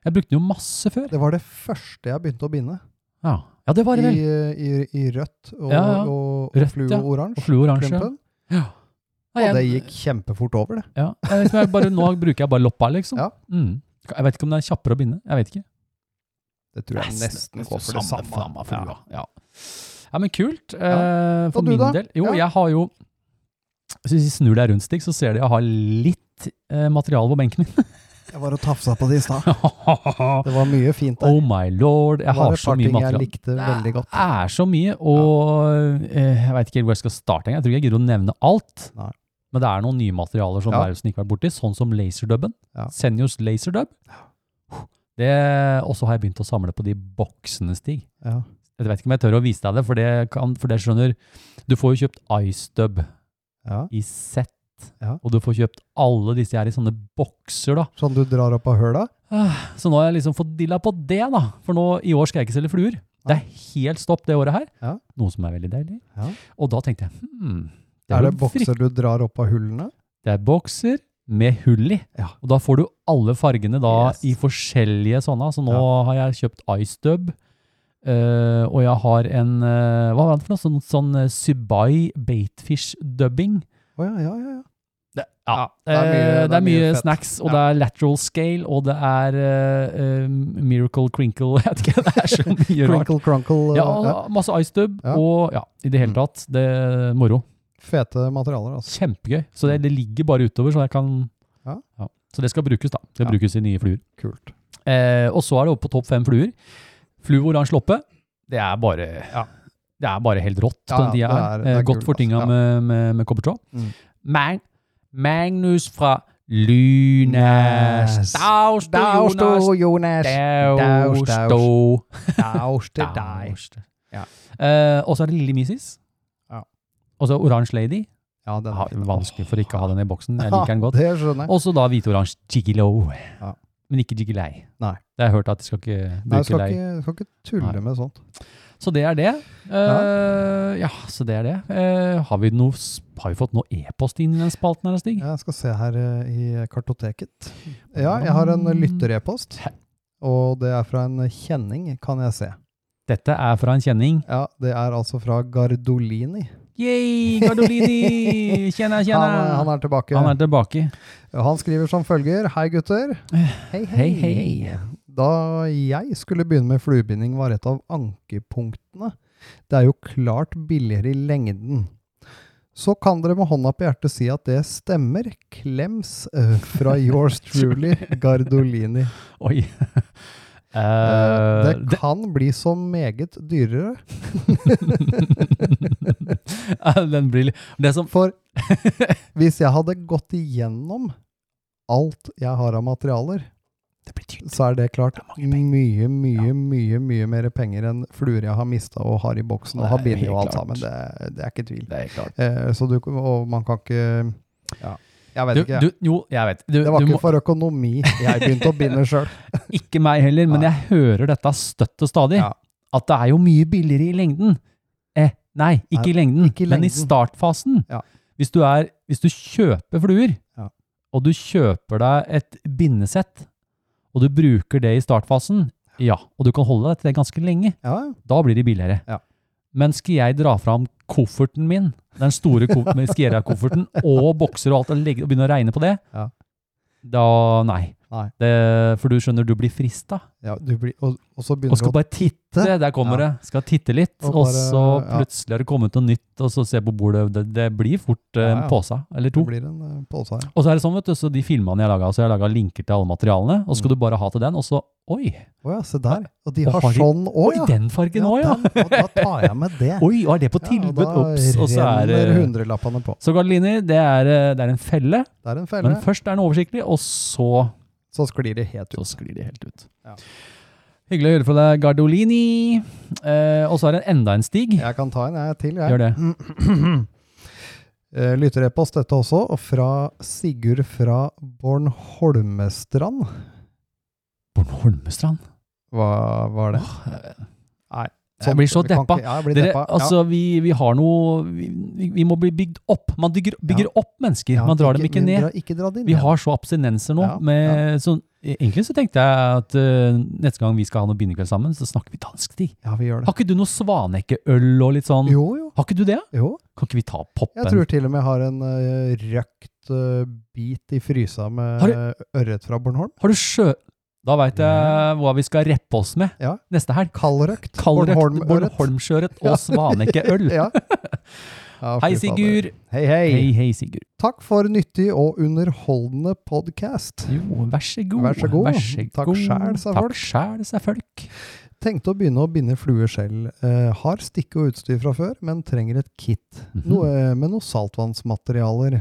Speaker 2: Jeg brukte den jo masse før.
Speaker 6: Det var det første jeg begynte å binde.
Speaker 2: Ja, ja det var
Speaker 6: I,
Speaker 2: det vel.
Speaker 6: i, i rødt og,
Speaker 2: Ja, ja.
Speaker 6: og, og
Speaker 2: Rødt, ja. Og
Speaker 6: fluo-oransje.
Speaker 2: fluoransje.
Speaker 6: Klumpen.
Speaker 2: Nei,
Speaker 6: Og det
Speaker 2: jeg-
Speaker 6: gikk kjempefort over, det.
Speaker 2: Ja, jeg vet, ikke, jeg bare, nå bruker jeg bare loppa, liksom.
Speaker 6: Ja.
Speaker 2: Mm. Jeg vet ikke om det er kjappere å binde. Jeg vet ikke.
Speaker 6: Det tror jeg nesten går for det samme.
Speaker 2: Samme flua. Ja. ja, men kult. Eh, for
Speaker 6: Og du
Speaker 2: min
Speaker 6: da?
Speaker 2: del Jo,
Speaker 6: Ja.
Speaker 2: jeg har jo Hvis vi snur deg rundt, Stig, så ser du jeg har litt eh, materiale på benken min. (laughs)
Speaker 6: Jeg var og tafsa på det i stad. Det var mye fint der.
Speaker 2: oh my lord. Jeg
Speaker 6: det var
Speaker 2: har
Speaker 6: et
Speaker 2: så
Speaker 6: par
Speaker 2: mye
Speaker 6: ting jeg
Speaker 2: materiale.
Speaker 6: likte veldig godt.
Speaker 2: Det er så mye, og eh, jeg veit ikke helt hvor jeg skal starte. engang. Jeg tror ikke jeg gidder å nevne alt.
Speaker 6: Nei.
Speaker 2: Men det er noen nye materialer som
Speaker 6: Ja.
Speaker 2: Værelsen ikke har vært borti, sånn som laserdubben.
Speaker 6: Ja.
Speaker 2: Senjos laserdub. Det, og så har jeg begynt å samle på de boksene, Stig.
Speaker 6: Ja.
Speaker 2: Jeg vet ikke om jeg tør å vise deg det, for det, kan, for det skjønner Du får jo kjøpt iStub
Speaker 6: Ja.
Speaker 2: i sett,
Speaker 6: Ja.
Speaker 2: og du får kjøpt alle disse her i sånne bokser, da.
Speaker 6: Sånn du drar opp av høla?
Speaker 2: Ah, Så nå har jeg liksom fått dilla på det, da. For nå, i år skal jeg ikke selge fluer. Det er helt stopp det året her.
Speaker 6: Ja.
Speaker 2: Noe som er veldig deilig.
Speaker 6: Ja.
Speaker 2: Og da tenkte jeg hmm,
Speaker 6: Er
Speaker 2: jo
Speaker 6: det bokser du drar opp av hullene?
Speaker 2: Det er bokser med hull i.
Speaker 6: Ja.
Speaker 2: Og da får du alle fargene da
Speaker 6: Yes.
Speaker 2: i forskjellige sånne. Så nå har jeg kjøpt iStub, eh, og jeg har en eh, Hva var det for noe? Sånn, sånn eh, Subai baitfish-dubbing.
Speaker 6: Å ja, ja, ja. ja.
Speaker 2: Det, ja.
Speaker 6: Ja,
Speaker 2: det er mye, det er mye
Speaker 6: fett.
Speaker 2: snacks, og
Speaker 6: Ja.
Speaker 2: det er lateral scale, og det er eh, eh, miracle crinkle (laughs) Jeg vet ikke, det er så mye rart.
Speaker 6: Crinkle Crunkle.
Speaker 2: Ja,
Speaker 6: eh,
Speaker 2: masse iStub,
Speaker 6: Ja.
Speaker 2: og ja, i det hele
Speaker 6: Mm.
Speaker 2: tatt. Det er moro.
Speaker 6: Fete materialer, altså.
Speaker 2: Kjempegøy. Så det, det ligger bare utover, så jeg kan
Speaker 6: Ja.
Speaker 2: Så det skal brukes, da. Det
Speaker 6: Ja.
Speaker 2: brukes i nye fluer.
Speaker 6: Kult.
Speaker 2: Eh, og så er det oppe på topp fem fluer. Fluoransje loppe, det er bare
Speaker 6: Ja.
Speaker 2: Det er bare helt rått.
Speaker 6: Ja,
Speaker 2: den tida
Speaker 6: det
Speaker 2: her.
Speaker 6: er- det er
Speaker 2: Eh, Godt
Speaker 6: kult,
Speaker 2: for tinga
Speaker 6: altså. Ja.
Speaker 2: med, med, med kobbertråd.
Speaker 6: Mm.
Speaker 2: Mag Magnus fra Lynes.
Speaker 6: Nes.
Speaker 2: Daus til
Speaker 6: Daus
Speaker 2: Jonas.
Speaker 6: til Jonas!
Speaker 2: Daus
Speaker 6: Daus,
Speaker 2: til-
Speaker 6: Daus
Speaker 2: (laughs)
Speaker 6: til deg!
Speaker 2: Daus til.
Speaker 6: Ja.
Speaker 2: Eh, Og så er det Lille Misis.
Speaker 6: Ja.
Speaker 2: Og så Orange Lady.
Speaker 6: Ja, den
Speaker 2: Ja,
Speaker 6: er fin.
Speaker 2: vanskelig for ikke å ha den i boksen. Jeg liker den godt.
Speaker 6: Det skjønner jeg.
Speaker 2: Og så da hvitoransje gigolo.
Speaker 6: Ja.
Speaker 2: Men ikke gigilei.
Speaker 6: Nei.
Speaker 2: Det har jeg hørt at de skal ikke
Speaker 6: Nei,
Speaker 2: bruke
Speaker 6: jeg skal
Speaker 2: lei.
Speaker 6: ikke, skal ikke tulle
Speaker 2: Nei.
Speaker 6: med sånt.
Speaker 2: Så det er det. Eh, ja. så det er det. Eh, har, vi noe, s- har vi fått noe e-post inn i den spalten her, Stig?
Speaker 6: Jeg skal se her eh, i kartoteket.
Speaker 2: Mm.
Speaker 6: Ja, jeg har en eh, lytterepost. Og det er fra en eh, kjenning, kan jeg se.
Speaker 2: Dette er fra en kjenning.
Speaker 6: Ja, det er altså fra Gardolini.
Speaker 2: Yay,
Speaker 6: (laughs)
Speaker 2: Gardolini! Kjenner, kjenner!
Speaker 6: Han, eh, han er tilbake.
Speaker 2: Han er tilbake.
Speaker 6: Han skriver som følger. Hei, gutter. Hei,
Speaker 2: Hei, hei.
Speaker 6: Da jeg skulle begynne med fluebinding, var et av ankepunktene. Det er jo klart billigere i lengden. Så kan dere med hånda på hjertet si at det stemmer. Klems eh,
Speaker 2: (laughs)
Speaker 6: fra yours truly, Gardolini.
Speaker 2: Oi. (laughs) Eh,
Speaker 6: Eh, det
Speaker 2: det,
Speaker 6: kan bli så meget dyrere,
Speaker 2: (laughs) den blir litt Det som
Speaker 6: for hvis jeg hadde gått igjennom alt jeg har av materialer,
Speaker 2: Det blir dyrt.
Speaker 6: så er det klart
Speaker 2: Det er mange
Speaker 6: mye, mye, mye mye mer penger enn fluer jeg har mista og har i boksen og
Speaker 2: Det
Speaker 6: har
Speaker 2: er
Speaker 6: bindet
Speaker 2: helt
Speaker 6: og alt
Speaker 2: klart.
Speaker 6: sammen. Det, er- det er ikke tvil.
Speaker 2: Det er klart.
Speaker 6: Eh, så du, og man kan ikke ja. Jeg vet
Speaker 2: Du,
Speaker 6: ikke.
Speaker 2: du, jo, jeg vet. Du,
Speaker 6: det var
Speaker 2: du
Speaker 6: ikke
Speaker 2: må,
Speaker 6: for økonomi jeg begynte å binde sjøl.
Speaker 2: (laughs) Ikke meg heller, men
Speaker 6: Nei.
Speaker 2: jeg hører dette støtt og stadig.
Speaker 6: Ja.
Speaker 2: At det er jo mye billigere i lengden. Eh, nei, ikke
Speaker 6: Nei,
Speaker 2: i lengden,
Speaker 6: ikke i
Speaker 2: men i
Speaker 6: lengden.
Speaker 2: startfasen.
Speaker 6: Ja.
Speaker 2: Hvis, du er, hvis du kjøper fluer,
Speaker 6: Ja.
Speaker 2: og du kjøper deg et bindesett, og du bruker det i startfasen, ja, og du kan holde deg til det ganske lenge,
Speaker 6: Ja,
Speaker 2: da blir de billigere.
Speaker 6: Ja.
Speaker 2: Men skal jeg dra fram kofferten min, den store ko- (laughs) med Skiera-kofferten, og bokser og alt, og, legge, og begynne å regne på det,
Speaker 6: Ja.
Speaker 2: da nei.
Speaker 6: Nei.
Speaker 2: Det, for du skjønner, du blir frista.
Speaker 6: ja, du blir, og, og så
Speaker 2: Og
Speaker 6: begynner
Speaker 2: skal
Speaker 6: du å
Speaker 2: bare titte, der kommer det. Skal titte litt,
Speaker 6: Og
Speaker 2: og
Speaker 6: bare-
Speaker 2: så
Speaker 6: ja.
Speaker 2: plutselig har det kommet noe nytt, og så se på bordet. Det, det blir fort eh,
Speaker 6: Ja,
Speaker 2: en
Speaker 6: ja.
Speaker 2: påse eller
Speaker 6: Det
Speaker 2: to.
Speaker 6: blir en eh, pose her.
Speaker 2: Og så er det sånn, vet du, så de filmene jeg har laga, så jeg har laga linker til alle materialene, og
Speaker 6: Mm.
Speaker 2: skal du bare ha til den, og så Oi!
Speaker 6: Å ja, se der. Og de
Speaker 2: Og
Speaker 6: har
Speaker 2: har de-
Speaker 6: sånn
Speaker 2: Oi,
Speaker 6: òg, ja.
Speaker 2: den fargen òg, ja!
Speaker 6: den, og (laughs) da tar jeg med det.
Speaker 2: Oi, og er det på
Speaker 6: Ja, og
Speaker 2: tilbud? Ops! Og så
Speaker 6: Da
Speaker 2: er det
Speaker 6: renner hundrelappene på.
Speaker 2: Så Gardlini, det er, eh, det er en felle,
Speaker 6: Det er en felle.
Speaker 2: men først er den oversiktlig, og så,
Speaker 6: Så sklir det helt ut.
Speaker 2: så sklir de helt ut.
Speaker 6: Ja.
Speaker 2: Hyggelig å høre fra deg, Gardolini. Eh, og så er det enda en stig.
Speaker 6: Jeg kan ta en jeg til, jeg.
Speaker 2: Gjør det.
Speaker 6: (clears throat) Eh, Lytterepost dette også, og fra Sigurd fra Bornholmestrand.
Speaker 2: Born Holmestrand.
Speaker 6: Hva var det? Nei.
Speaker 2: jeg blir så
Speaker 6: vi kan
Speaker 2: deppa.
Speaker 6: ikke- Ja, jeg blir
Speaker 2: Dere,
Speaker 6: deppa.
Speaker 2: altså, vi, vi har noe vi, vi- vi må bli bygd opp. Man bygger, bygger opp mennesker.
Speaker 6: ja.
Speaker 2: man drar dem ikke
Speaker 6: vi
Speaker 2: ned.
Speaker 6: drar- Ikke dra dem
Speaker 2: Vi
Speaker 6: ned.
Speaker 2: har så abstinenser nå.
Speaker 6: Ja,
Speaker 2: med, Så, egentlig så tenkte jeg at eh, neste gang vi skal ha noe bindekveld sammen, så snakker vi dansk, Stig.
Speaker 6: Ja, vi gjør det.
Speaker 2: Har ikke du noe Svanekke-øl og litt sånn?
Speaker 6: Jo, jo.
Speaker 2: Har ikke du det?
Speaker 6: jo.
Speaker 2: Kan ikke vi ta
Speaker 6: Jeg
Speaker 2: poppen?
Speaker 6: tror til og med jeg har en eh, røkt eh, bit i frysa med
Speaker 2: Har
Speaker 6: ørret fra Bornholm.
Speaker 2: Har du sjø... Da veit jeg hva vi skal reppe oss med
Speaker 6: Ja.
Speaker 2: neste helg.
Speaker 6: Kaldrøkt.
Speaker 2: Kaldrøkt,
Speaker 6: Bornholmørret.
Speaker 2: Bornholmsjøret og
Speaker 6: (laughs)
Speaker 2: Svanekke-øl. (laughs)
Speaker 6: Ja. Ja,
Speaker 2: Hei,
Speaker 6: fy fader.
Speaker 2: Sigurd.
Speaker 6: Hei, hei.
Speaker 2: Hei, hei, Sigurd.
Speaker 6: Takk for nyttig og underholdende podkast.
Speaker 2: Jo, vær så god.
Speaker 6: Vær så god.
Speaker 2: Vær så
Speaker 6: Takk
Speaker 2: god.
Speaker 6: sjæl, sa folk.
Speaker 2: Takk sjæl, sa folk.
Speaker 6: Tenkte å begynne å binde fluer selv. Eh, har stikke og utstyr fra før, men trenger et kit. Noe eh, med noe saltvannsmaterialer.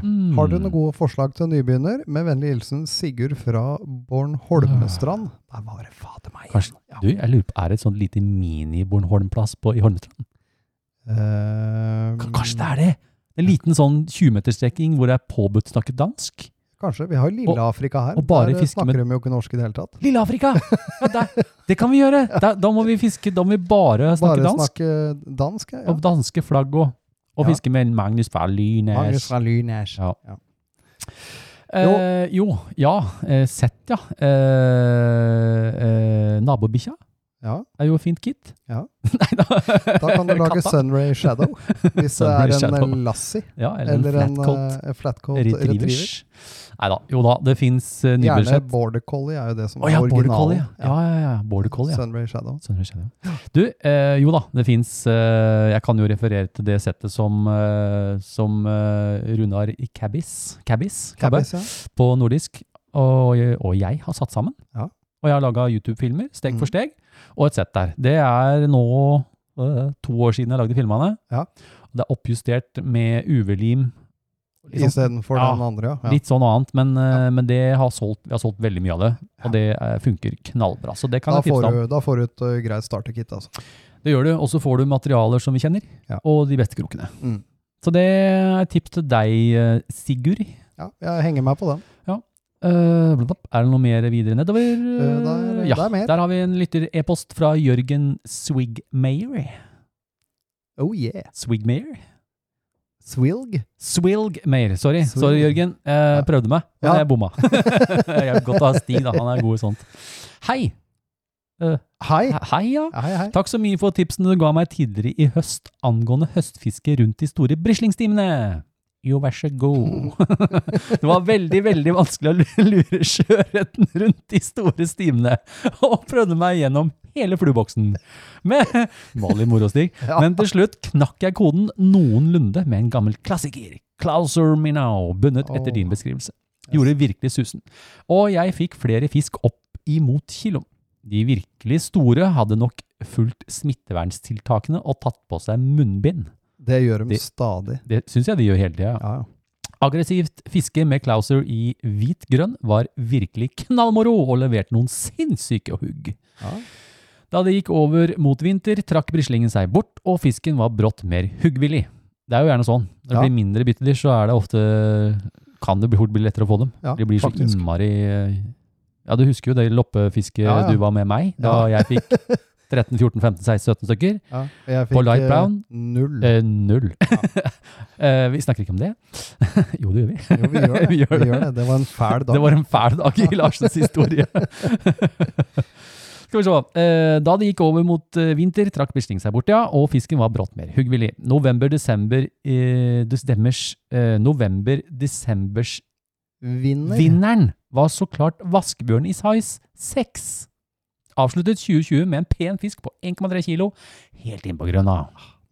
Speaker 2: Mhm. Mm.
Speaker 6: Har dere noen gode forslag til nybegynner? Med vennlig hilsen Sigurd fra Bornholmestrand. Der var det fader meg.
Speaker 2: Ah. Kanskje-
Speaker 6: Ja.
Speaker 2: Du, jeg lurer på, er det et sånt lite mini-Bornholm-plass på- i Holmestrand?
Speaker 6: Eh,
Speaker 2: K- Kanskje det er det? En liten sånn 20-meterstrekking hvor det er påbudt å snakke dansk?
Speaker 6: Kanskje. Vi har jo Lille Afrika her.
Speaker 2: og bare
Speaker 6: Der eh,
Speaker 2: fiske med-
Speaker 6: snakker de jo ikke norsk i det hele tatt.
Speaker 2: Lille Afrika! Ja, der, det kan vi gjøre! Da, da må vi fiske, da må vi bare snakke
Speaker 6: Bare
Speaker 2: dansk.
Speaker 6: snakke dansk, ja.
Speaker 2: Og danske flagg og, og
Speaker 6: Ja.
Speaker 2: fiske med en Magnus fra Lynes.
Speaker 6: Magnus fra Lynæsj.
Speaker 2: Ja.
Speaker 6: Ja.
Speaker 2: Jo. Eh, jo, ja. Eh, sett, ja. Eh, eh, nabobikkja.
Speaker 6: Ja,
Speaker 2: Det er jo et fint kit.
Speaker 6: Ja.
Speaker 2: (laughs) Nei da.
Speaker 6: Da
Speaker 2: (laughs)
Speaker 6: kan du lage
Speaker 2: Katta.
Speaker 6: Sunray Shadow, hvis det
Speaker 2: Sunray
Speaker 6: er en
Speaker 2: Shadow.
Speaker 6: eh, Lassie
Speaker 2: Ja, (laughs) eller,
Speaker 6: eller
Speaker 2: en
Speaker 6: en
Speaker 2: flatcoat
Speaker 6: eh, flatcoat
Speaker 2: retrievers.
Speaker 6: retriever.
Speaker 2: Nei da. Jo da, det fins uh,
Speaker 6: Gjerne
Speaker 2: nibblesett.
Speaker 6: border collie er jo det som
Speaker 2: Å
Speaker 6: er
Speaker 2: ja, border
Speaker 6: originalen.
Speaker 2: collie. ja. Ja, ja, ja. Border collie, ja.
Speaker 6: Sunray Shadow.
Speaker 2: Sønderøy Shadow. Du, eh, jo da, det fins eh, Jeg kan jo referere til det settet som, eh, som eh, Runar i Cabbis, Cabbis, Cabbe,
Speaker 6: Cabbis, ja.
Speaker 2: på nordisk, og, jeg- og jeg har satt sammen.
Speaker 6: Ja.
Speaker 2: Og jeg har laga YouTube-filmer, steg for
Speaker 6: Mm.
Speaker 2: steg, og et sett der. Det er nå eh, to år siden jeg lagde filmene.
Speaker 6: Ja.
Speaker 2: Det er oppjustert med UV-lim. Litt sånn-
Speaker 6: Istedenfor
Speaker 2: Ja,
Speaker 6: den andre, ja. ja.
Speaker 2: Litt sånn annet, men, eh, men det har solgt, vi har solgt veldig mye av det. Og det eh, funker knallbra. Så det kan
Speaker 6: Da
Speaker 2: jeg tipse
Speaker 6: får,
Speaker 2: om.
Speaker 6: du, da får du et eh, greit starterkit, altså.
Speaker 2: Det gjør du, og så får du materialer som vi kjenner,
Speaker 6: Ja.
Speaker 2: og de beste krokene.
Speaker 6: Mm.
Speaker 2: Så det er et tips til deg, eh, Sigurd.
Speaker 6: Ja, jeg henger meg på den.
Speaker 2: Eh, blablabla. er det noe mer videre nedover?
Speaker 6: Eh, det er-
Speaker 2: ja,
Speaker 6: det er mer.
Speaker 2: Der har vi en lytter-e-post fra Jørgen Swigmayer.
Speaker 6: Oh yeah.
Speaker 2: Swigmayer?
Speaker 6: Swilg.
Speaker 2: Swilgmayer, sorry.
Speaker 6: Swilg.
Speaker 2: Sorry, Jørgen. Eh,
Speaker 6: Ja.
Speaker 2: Prøvde meg, men
Speaker 6: Ja.
Speaker 2: jeg bomma. (laughs) jeg vil godt ha Stig, da. Han er god i sånt. Hei.
Speaker 6: Hei.
Speaker 2: Hei, ja.
Speaker 6: Hei, hei.
Speaker 2: Takk så mye for tipsene du ga meg tidligere i høst angående høstfiske rundt de store brislingstimene. Jo, vær så
Speaker 6: (laughs)
Speaker 2: god. Det var veldig, veldig vanskelig å lu- lure sjøørreten rundt de store stimene, (laughs) og prøvde meg gjennom hele flueboksen. Men, (laughs) vanlig morostig, men til slutt knakk jeg koden noenlunde med en gammel klassiker, Clauser Minnow, bundet etter din beskrivelse. Gjorde virkelig susen. Og jeg fikk flere fisk opp imot kiloen. De virkelig store hadde nok fulgt smittevernstiltakene og tatt på seg munnbind.
Speaker 6: Det gjør de
Speaker 2: Det-
Speaker 6: stadig.
Speaker 2: Det syns jeg de gjør hele tida.
Speaker 6: Ja, ja.
Speaker 2: Aggressivt fiske med Clauser i hvit-grønn var virkelig knallmoro og leverte noen sinnssyke hugg.
Speaker 6: Ja.
Speaker 2: Da det gikk over mot vinter, trakk brislingen seg bort, og fisken var brått mer huggvillig. Det er jo gjerne sånn. Når det
Speaker 6: Ja.
Speaker 2: blir mindre byttedyr, så er det ofte kan det bli- fort bli lettere å få dem.
Speaker 6: Ja,
Speaker 2: de blir så
Speaker 6: faktisk.
Speaker 2: innmari Ja, du husker jo det loppefisket
Speaker 6: Ja, ja.
Speaker 2: du var med meg, da jeg fikk
Speaker 6: (laughs)
Speaker 2: 13, 14, 15, 16, 17 stykker.
Speaker 6: Ja. Jeg fikk
Speaker 2: På light
Speaker 6: eh,
Speaker 2: brown?
Speaker 6: null.
Speaker 2: Eh, null. (laughs) eh, vi snakker ikke om det. (laughs) jo, det gjør vi.
Speaker 6: Jo, vi gjør det.
Speaker 2: (laughs) vi gjør
Speaker 6: Vi gjør det. det var en fæl dag.
Speaker 2: Det var en fæl dag (laughs) i Larsens historie. Skal vi se. Eh, Da det gikk over mot eh, vinter, trakk Bisling seg bort, ja, og fisken var brått mer huggvillig. November-desember eh, desdemmers- eh, November-desembersvinneren
Speaker 6: Vinner.
Speaker 2: var så klart vaskebjørn i size 6. Avsluttet 2020 med en pen fisk på 1,3 kilo, helt inn på grønna.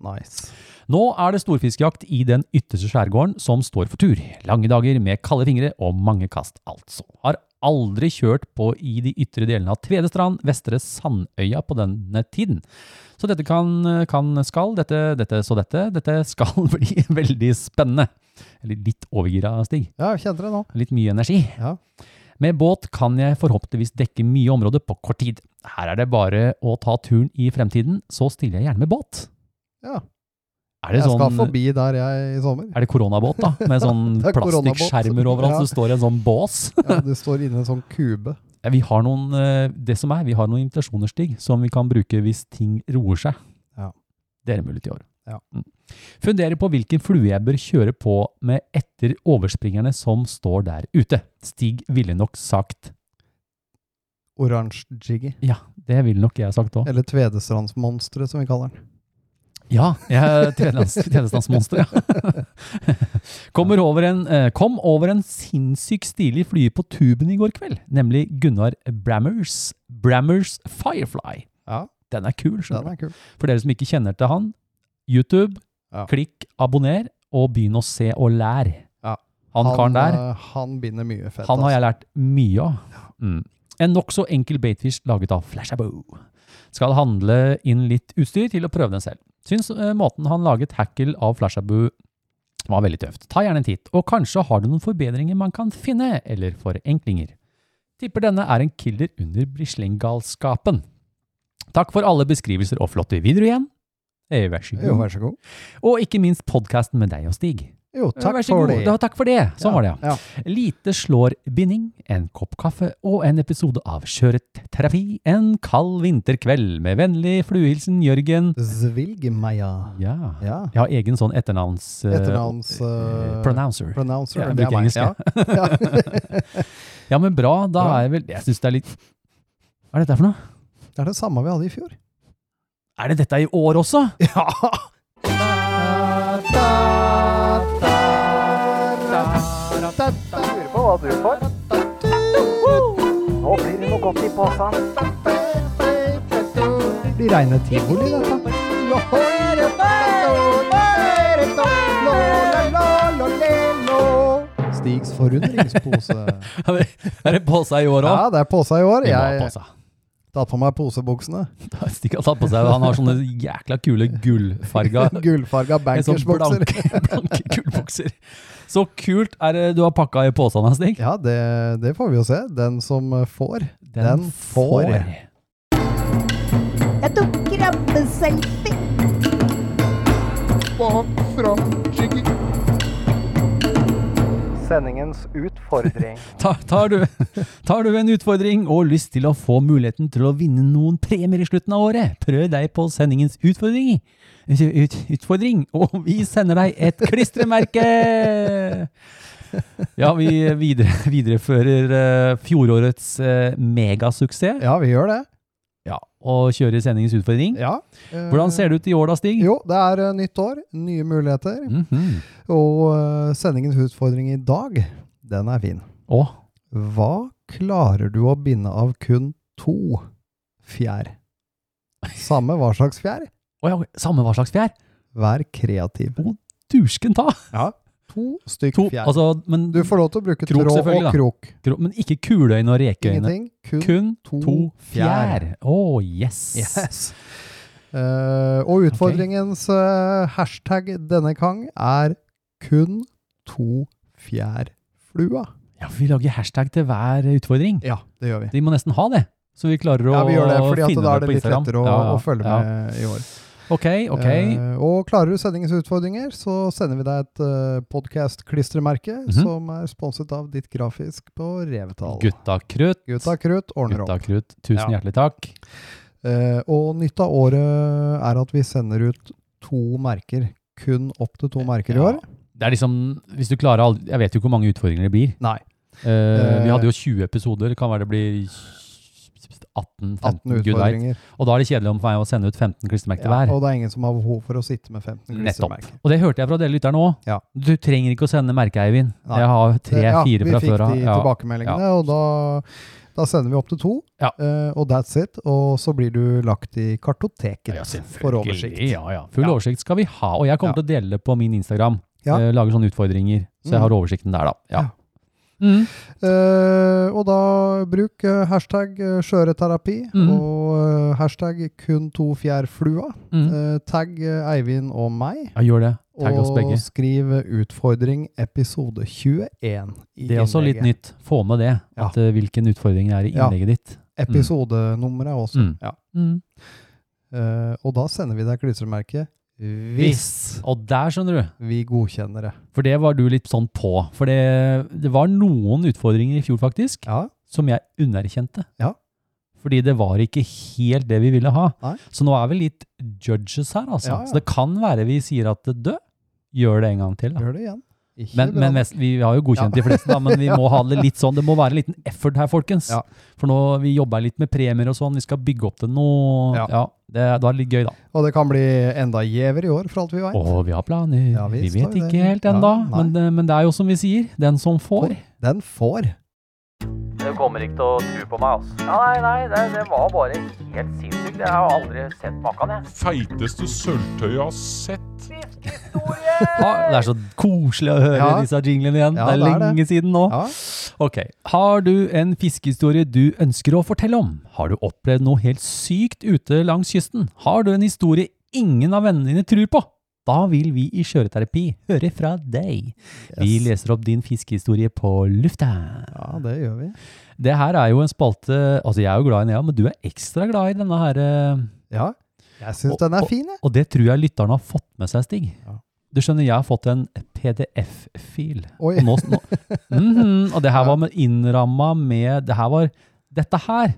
Speaker 6: Nice.
Speaker 2: Nå er det storfiskjakt i den ytterste skjærgården som står for tur. Lange dager med kalde fingre og mange kast, altså. Har aldri kjørt på i de ytre delene av Tvedestrand, Vestre Sandøya på denne tiden. Så dette kan, kan skal, dette, dette, så dette, dette skal (laughs) bli veldig spennende. Eller litt overgira, Stig.
Speaker 6: Ja, jeg kjente det nå.
Speaker 2: Litt mye energi.
Speaker 6: Ja.
Speaker 2: Med båt kan jeg forhåpentligvis dekke mye område på kort tid. Her er det bare å ta turen i fremtiden, så stiller jeg gjerne med båt.
Speaker 6: Ja.
Speaker 2: Er det
Speaker 6: Jeg skal
Speaker 2: sånn,
Speaker 6: forbi der jeg i sommer.
Speaker 2: (laughs) er det koronabåt, da?
Speaker 6: (laughs)
Speaker 2: Med sånn
Speaker 6: Det er koronabåt.
Speaker 2: plastikkskjermer overalt,
Speaker 6: Ja.
Speaker 2: så står det en sånn bås.
Speaker 6: (laughs) Ja, du står inne i en sånn kube.
Speaker 2: Ja, Vi har noen, eh, det som er, vi har noen invitasjoner, Stig, som vi kan bruke hvis ting roer seg.
Speaker 6: Ja.
Speaker 2: Det er en mulighet i år.
Speaker 6: Ja.
Speaker 2: Mm. Funderer på hvilken flue jeg bør kjøre på med etter overspringerne som står der ute. Stig ville nok sagt
Speaker 6: Oransje jiggy.
Speaker 2: Ja, det ville nok jeg sagt òg.
Speaker 6: Eller Tvedestrandsmonsteret, som vi kaller den.
Speaker 2: Ja, jeg er tredjelands- tredjelandsmonster, ja. (laughs) Kommer over en, eh, kom over en sinnssykt stilig flye på tuben i går kveld, nemlig Gunnar Brammers, Brammers Firefly.
Speaker 6: Ja.
Speaker 2: Den er kul, skjønner
Speaker 6: Den er kul.
Speaker 2: du. For dere som ikke kjenner til han, YouTube,
Speaker 6: Ja.
Speaker 2: klikk, abonner, og begynn å se og lær.
Speaker 6: Ja.
Speaker 2: Han, karen der,
Speaker 6: eh, Han binder mye fett.
Speaker 2: han har
Speaker 6: altså.
Speaker 2: jeg lært mye av. Mm. En nokså enkel baitfish laget av Flashaboo. Skal handle inn litt utstyr til å prøve den selv. Syns eh, måten han laget hackle av Flashaboo var veldig tøft. Ta gjerne en titt, og kanskje har du noen forbedringer man kan finne, eller forenklinger. Tipper denne er en killer under brislinggalskapen. Takk for alle beskrivelser og flotte videoer igjen. Eh, Vær så
Speaker 6: Jo,
Speaker 2: god.
Speaker 6: vær så god.
Speaker 2: Og ikke minst podkasten med deg og Stig.
Speaker 6: Jo,
Speaker 2: Eh,
Speaker 6: takk
Speaker 2: Vær så
Speaker 6: for
Speaker 2: god.
Speaker 6: det.
Speaker 2: Ja, takk for det. Sånn var det, ja.
Speaker 6: Ja.
Speaker 2: Lite slår binding, en kopp kaffe og en episode av Sjøørretterapi en kald vinterkveld. Med vennlig fluehilsen Jørgen.
Speaker 6: Zvilgmeia.
Speaker 2: Ja.
Speaker 6: Ja.
Speaker 2: Jeg har egen sånn etternavns... eh,
Speaker 6: Etternavns...
Speaker 2: eh,
Speaker 6: eh,
Speaker 2: Pronouncer.
Speaker 6: Pronouncer.
Speaker 2: Ja, jeg
Speaker 6: det er
Speaker 2: bruker
Speaker 6: meg.
Speaker 2: engelsk,
Speaker 6: Ja.
Speaker 2: jeg.
Speaker 6: (laughs)
Speaker 2: Ja, men bra. Da
Speaker 6: Bra.
Speaker 2: er jeg vel Jeg syns det er litt Hva er dette for noe?
Speaker 6: Det er det samme vi hadde i fjor.
Speaker 2: Er det dette i år også?
Speaker 6: (laughs) Ja!
Speaker 5: Jeg lurer på hva du får. Nå blir det noe godt i posen.
Speaker 6: Blir reine tivoli, dette. Stigs forundringspose.
Speaker 2: Er det på seg i år òg?
Speaker 6: Ja, det er påsa i år.
Speaker 2: Det var
Speaker 6: Jeg
Speaker 2: på seg.
Speaker 6: tatt på meg posebuksene.
Speaker 2: Stikk har tatt på seg. Han har sånne jækla kule
Speaker 6: (laughs)
Speaker 2: gullfarga
Speaker 6: Gullfarga
Speaker 2: En sånn
Speaker 6: bankersbukser.
Speaker 2: blanke, blanke gullbokser. Så kult er det du har pakka i posen, da, Stig.
Speaker 6: Ja, det, det får vi jo se. Den som eh, får. Den får.
Speaker 7: Jeg tok krabbeselfie.
Speaker 5: Sendingens utfordring.
Speaker 2: Ta, tar, du, tar du en utfordring og lyst til å få muligheten til å vinne noen premier i slutten av året, prøv deg på sendingens utfordring. Ut, ut, utfordring, og vi sender deg et klistremerke! Ja, vi videre, viderefører eh, fjorårets eh, megasuksess
Speaker 6: (laughs) Ja, vi gjør det.
Speaker 2: ja, og kjører sendingens utfordring.
Speaker 6: Ja.
Speaker 2: Hvordan ser det ut i år da, Stig?
Speaker 6: Jo, det er eh, nytt år, nye muligheter.
Speaker 2: Mhm.
Speaker 6: Og eh, sendingens utfordring i dag, den er fin.
Speaker 2: Å,
Speaker 6: Hva klarer du å binde av kun to fjær? Samme hva slags fjær.
Speaker 2: å ja, samme hva slags fjær?
Speaker 6: Vær kreativ.
Speaker 2: Dursken ta!
Speaker 6: To stykk
Speaker 2: To,
Speaker 6: fjær.
Speaker 2: altså, men,
Speaker 6: du får lov til å bruke
Speaker 2: Krok
Speaker 6: tråd
Speaker 2: selvfølgelig,
Speaker 6: og
Speaker 2: da.
Speaker 6: krok.
Speaker 2: gro- men ikke kuleøyne og rekeøyne.
Speaker 6: Ingenting. Kun,
Speaker 2: Kun
Speaker 6: to
Speaker 2: to
Speaker 6: fjær.
Speaker 2: fjær. Å, yes.
Speaker 6: Yes. Eh, og utfordringens eh, hashtag denne gang er kun to fjær flua.
Speaker 2: Ja, for vi lager hashtag til hver utfordring.
Speaker 6: Ja, det gjør vi.
Speaker 2: De må nesten ha det, så vi klarer å
Speaker 6: Ja, vi gjør det, fordi at
Speaker 2: finne
Speaker 6: da er det
Speaker 2: på
Speaker 6: litt
Speaker 2: Instagram.
Speaker 6: lettere å,
Speaker 2: Ja, ja,
Speaker 6: å følge
Speaker 2: ja.
Speaker 6: med i år.
Speaker 2: Ok, ok.
Speaker 6: Eh, og klarer du sendingens utfordringer, så sender vi deg et uh, podkast-klistremerke
Speaker 2: Mhm.
Speaker 6: som er sponset av Ditt Grafisk på Revetal.
Speaker 2: Gutta krutt.
Speaker 6: Gutta krutt ordner
Speaker 2: Gutta
Speaker 6: opp.
Speaker 2: krutt. Tusen
Speaker 6: Ja.
Speaker 2: hjertelig takk.
Speaker 6: Eh, og nytt av året er at vi sender ut to merker. Kun opptil to merker
Speaker 2: Eh,
Speaker 6: i
Speaker 2: Ja.
Speaker 6: år.
Speaker 2: Det er liksom, hvis du klarer all- Jeg vet jo ikke hvor mange utfordringer det blir.
Speaker 6: Nei.
Speaker 2: Eh, vi hadde jo 20 episoder. Kan være det blir 18-15.
Speaker 6: 18
Speaker 2: Gud veit.
Speaker 6: utfordringer.
Speaker 2: Og da er det kjedelig om for meg å sende ut 15 klistremerker
Speaker 6: Ja,
Speaker 2: hver.
Speaker 6: og det er ingen som har behov for å sitte med 15
Speaker 2: Nettopp.
Speaker 6: klistremerker.
Speaker 2: Og det hørte jeg fra dere lytterne òg.
Speaker 6: Ja.
Speaker 2: Du trenger ikke å sende merke, Eivind.
Speaker 6: Nei.
Speaker 2: Jeg har
Speaker 6: Ja,
Speaker 2: tre-fire fra før av.
Speaker 6: Vi fikk de
Speaker 2: Ja.
Speaker 6: tilbakemeldingene, og da, da sender vi opp til to.
Speaker 2: Ja.
Speaker 6: eh, og that's it. Og så blir du lagt i kartoteket
Speaker 2: Ja,
Speaker 6: for
Speaker 2: selvfølgelig.
Speaker 6: oversikt.
Speaker 2: Ja, ja. Full
Speaker 6: Ja.
Speaker 2: oversikt skal vi ha. Og jeg kommer til
Speaker 6: Ja.
Speaker 2: å dele det på min Instagram.
Speaker 6: Ja.
Speaker 2: Eh, lager sånne utfordringer. Så
Speaker 6: Mm.
Speaker 2: jeg har oversikten der, da. Ja.
Speaker 6: Ja.
Speaker 2: Mm.
Speaker 6: Eh, og da bruk eh, hashtag eh, skjøreterapi
Speaker 2: Mhm.
Speaker 6: og eh, hashtag kun to fjær flua.
Speaker 2: Mm.
Speaker 6: Eh, tagg eh, Eivind og meg.
Speaker 2: Ja, gjør det. Tagg oss
Speaker 6: og
Speaker 2: begge.
Speaker 6: skriv eh, 'utfordring episode 21' i
Speaker 2: Det er også litt nytt. Få med det.
Speaker 6: Ja.
Speaker 2: At, eh, hvilken utfordring det er i
Speaker 6: Ja.
Speaker 2: innlegget ditt.
Speaker 6: Episodenummeret også.
Speaker 2: Mm.
Speaker 6: Ja.
Speaker 2: Mm.
Speaker 6: Eh, og da sender vi deg klistremerket
Speaker 2: Hvis. Og der, skjønner du.
Speaker 6: vi godkjenner det.
Speaker 2: For det var du litt sånn på. For det, det var noen utfordringer i fjor, faktisk.
Speaker 6: Ja.
Speaker 2: som jeg underkjente.
Speaker 6: Ja.
Speaker 2: Fordi det var ikke helt det vi ville ha.
Speaker 6: Nei.
Speaker 2: Så nå er vi litt judges her, altså.
Speaker 6: Ja, ja.
Speaker 2: Så det kan være vi sier at dø, gjør det en gang til. Da.
Speaker 6: Gjør det igjen. Ikke
Speaker 2: Men,
Speaker 6: bra.
Speaker 2: men mest, vi har jo godkjent de fleste, da, men vi må ha det litt sånn. Det må være en liten effort her, folkens.
Speaker 6: Ja.
Speaker 2: For nå vi jobber litt med premier og sånn, vi skal bygge opp til noe.
Speaker 6: Ja.
Speaker 2: Ja. det, da er det litt gøy, da.
Speaker 6: Og det kan bli enda gjevere i år, for alt vi veit.
Speaker 2: Og vi har planer.
Speaker 6: Ja,
Speaker 2: vi,
Speaker 6: visst har
Speaker 2: vet
Speaker 6: vi
Speaker 2: ikke
Speaker 6: det.
Speaker 2: helt
Speaker 6: Ja,
Speaker 2: ennå,
Speaker 6: nei.
Speaker 2: men, det- men det er jo som vi sier, den som får.
Speaker 6: Den får.
Speaker 3: Du kommer ikke til å tro på meg, altså. Ja, nei, nei, det, det var bare helt sinnssykt. Jeg har aldri sett maken, jeg.
Speaker 4: Feiteste sølvtøyet jeg har sett.
Speaker 2: Ah, det er så koselig å høre
Speaker 6: Ja.
Speaker 2: disse jinglene igjen.
Speaker 6: Ja,
Speaker 2: det er
Speaker 6: det er
Speaker 2: lenge siden nå.
Speaker 6: Ja.
Speaker 2: Ok, Har du en fiskehistorie du ønsker å fortelle om? Har du opplevd noe helt sykt ute langs kysten? Har du en historie ingen av vennene dine tror på? Da vil vi i Skjøreterapi høre fra deg. Vi
Speaker 6: Yes.
Speaker 2: leser opp din fiskehistorie på lufta.
Speaker 6: Ja, det gjør vi.
Speaker 2: Det her er jo en spalte Altså, jeg er jo glad i Nea, men du er ekstra glad i denne her eh,
Speaker 6: Ja. Jeg syns
Speaker 2: Og-
Speaker 6: den er fin, jeg.
Speaker 2: Og det tror jeg lytterne har fått med seg, Stig.
Speaker 6: Ja.
Speaker 2: Du skjønner, jeg har fått en PDF-fil.
Speaker 6: Oi.
Speaker 2: Og, nå, nå, Mhm, og det her var med innramma med det her var, Dette her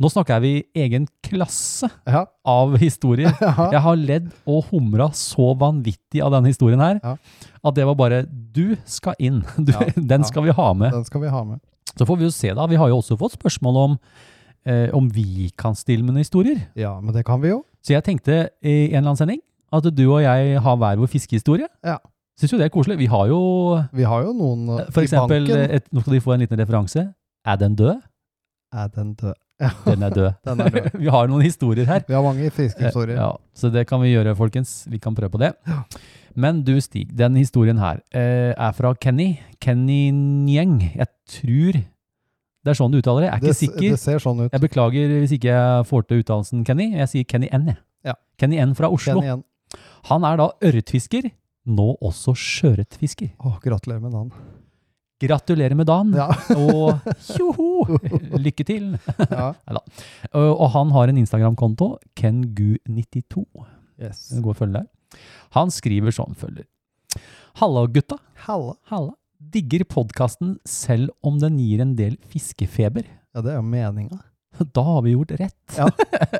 Speaker 2: Nå snakker vi egen klasse
Speaker 6: Ja.
Speaker 2: av historier.
Speaker 6: (laughs) Ja.
Speaker 2: Jeg har ledd og humra så vanvittig av denne historien her
Speaker 6: Ja.
Speaker 2: at det var bare Du skal inn! Du,
Speaker 6: Ja, ja.
Speaker 2: (laughs) Den skal vi ha med.
Speaker 6: Den skal vi ha med.
Speaker 2: Så får vi jo se, da. Vi har jo også fått spørsmål om eh, om vi kan stille med noen historier.
Speaker 6: Ja, men det kan vi jo.
Speaker 2: Så jeg tenkte i en eller annen sending at du og jeg har hver vår fiskehistorie.
Speaker 6: Ja.
Speaker 2: Syns jo det er koselig. Vi har jo
Speaker 6: Vi har jo noen eh,
Speaker 2: eh, for eksempel
Speaker 6: i banken.
Speaker 2: et, Nå skal de få en liten referanse. Er den død?
Speaker 6: Er den død? Ja,
Speaker 2: Den er død.
Speaker 6: den er død.
Speaker 2: vi har noen historier
Speaker 6: (laughs)
Speaker 2: her. Eh,
Speaker 6: Vi har mange fiskehistorier.
Speaker 2: Ja, så det kan vi gjøre, folkens. Vi kan prøve på det. Men du, Stig, den historien her eh, er fra Kenny. Kenny Njeng. Jeg tror det er sånn du uttaler det. Jeg er ikke
Speaker 6: det, s-
Speaker 2: sikker.
Speaker 6: det ser sånn ut.
Speaker 2: Jeg beklager hvis ikke jeg får til uttalelsen, Kenny. Jeg sier Kenny N, jeg.
Speaker 6: Ja.
Speaker 2: Kenny N fra Oslo.
Speaker 6: Den igjen.
Speaker 2: Han er da ørretfisker, nå også sjøørretfisker.
Speaker 6: Å, gratulerer
Speaker 2: (laughs)
Speaker 6: med dagen.
Speaker 2: Gratulerer med dagen,
Speaker 6: Ja.
Speaker 2: og
Speaker 6: (laughs)
Speaker 2: tjoho! Lykke til!
Speaker 6: ja.
Speaker 2: Eh, Og og han har en Instagram-konto, kengu92.
Speaker 6: Yes.
Speaker 2: Gå og følg der. Han skriver som følger. Halla, gutta.
Speaker 6: Halla.
Speaker 2: Halla. Digger podkasten selv om den gir en del fiskefeber.
Speaker 6: Ja, det er jo meninga.
Speaker 2: Da har vi gjort rett.
Speaker 6: Ja.
Speaker 2: (laughs)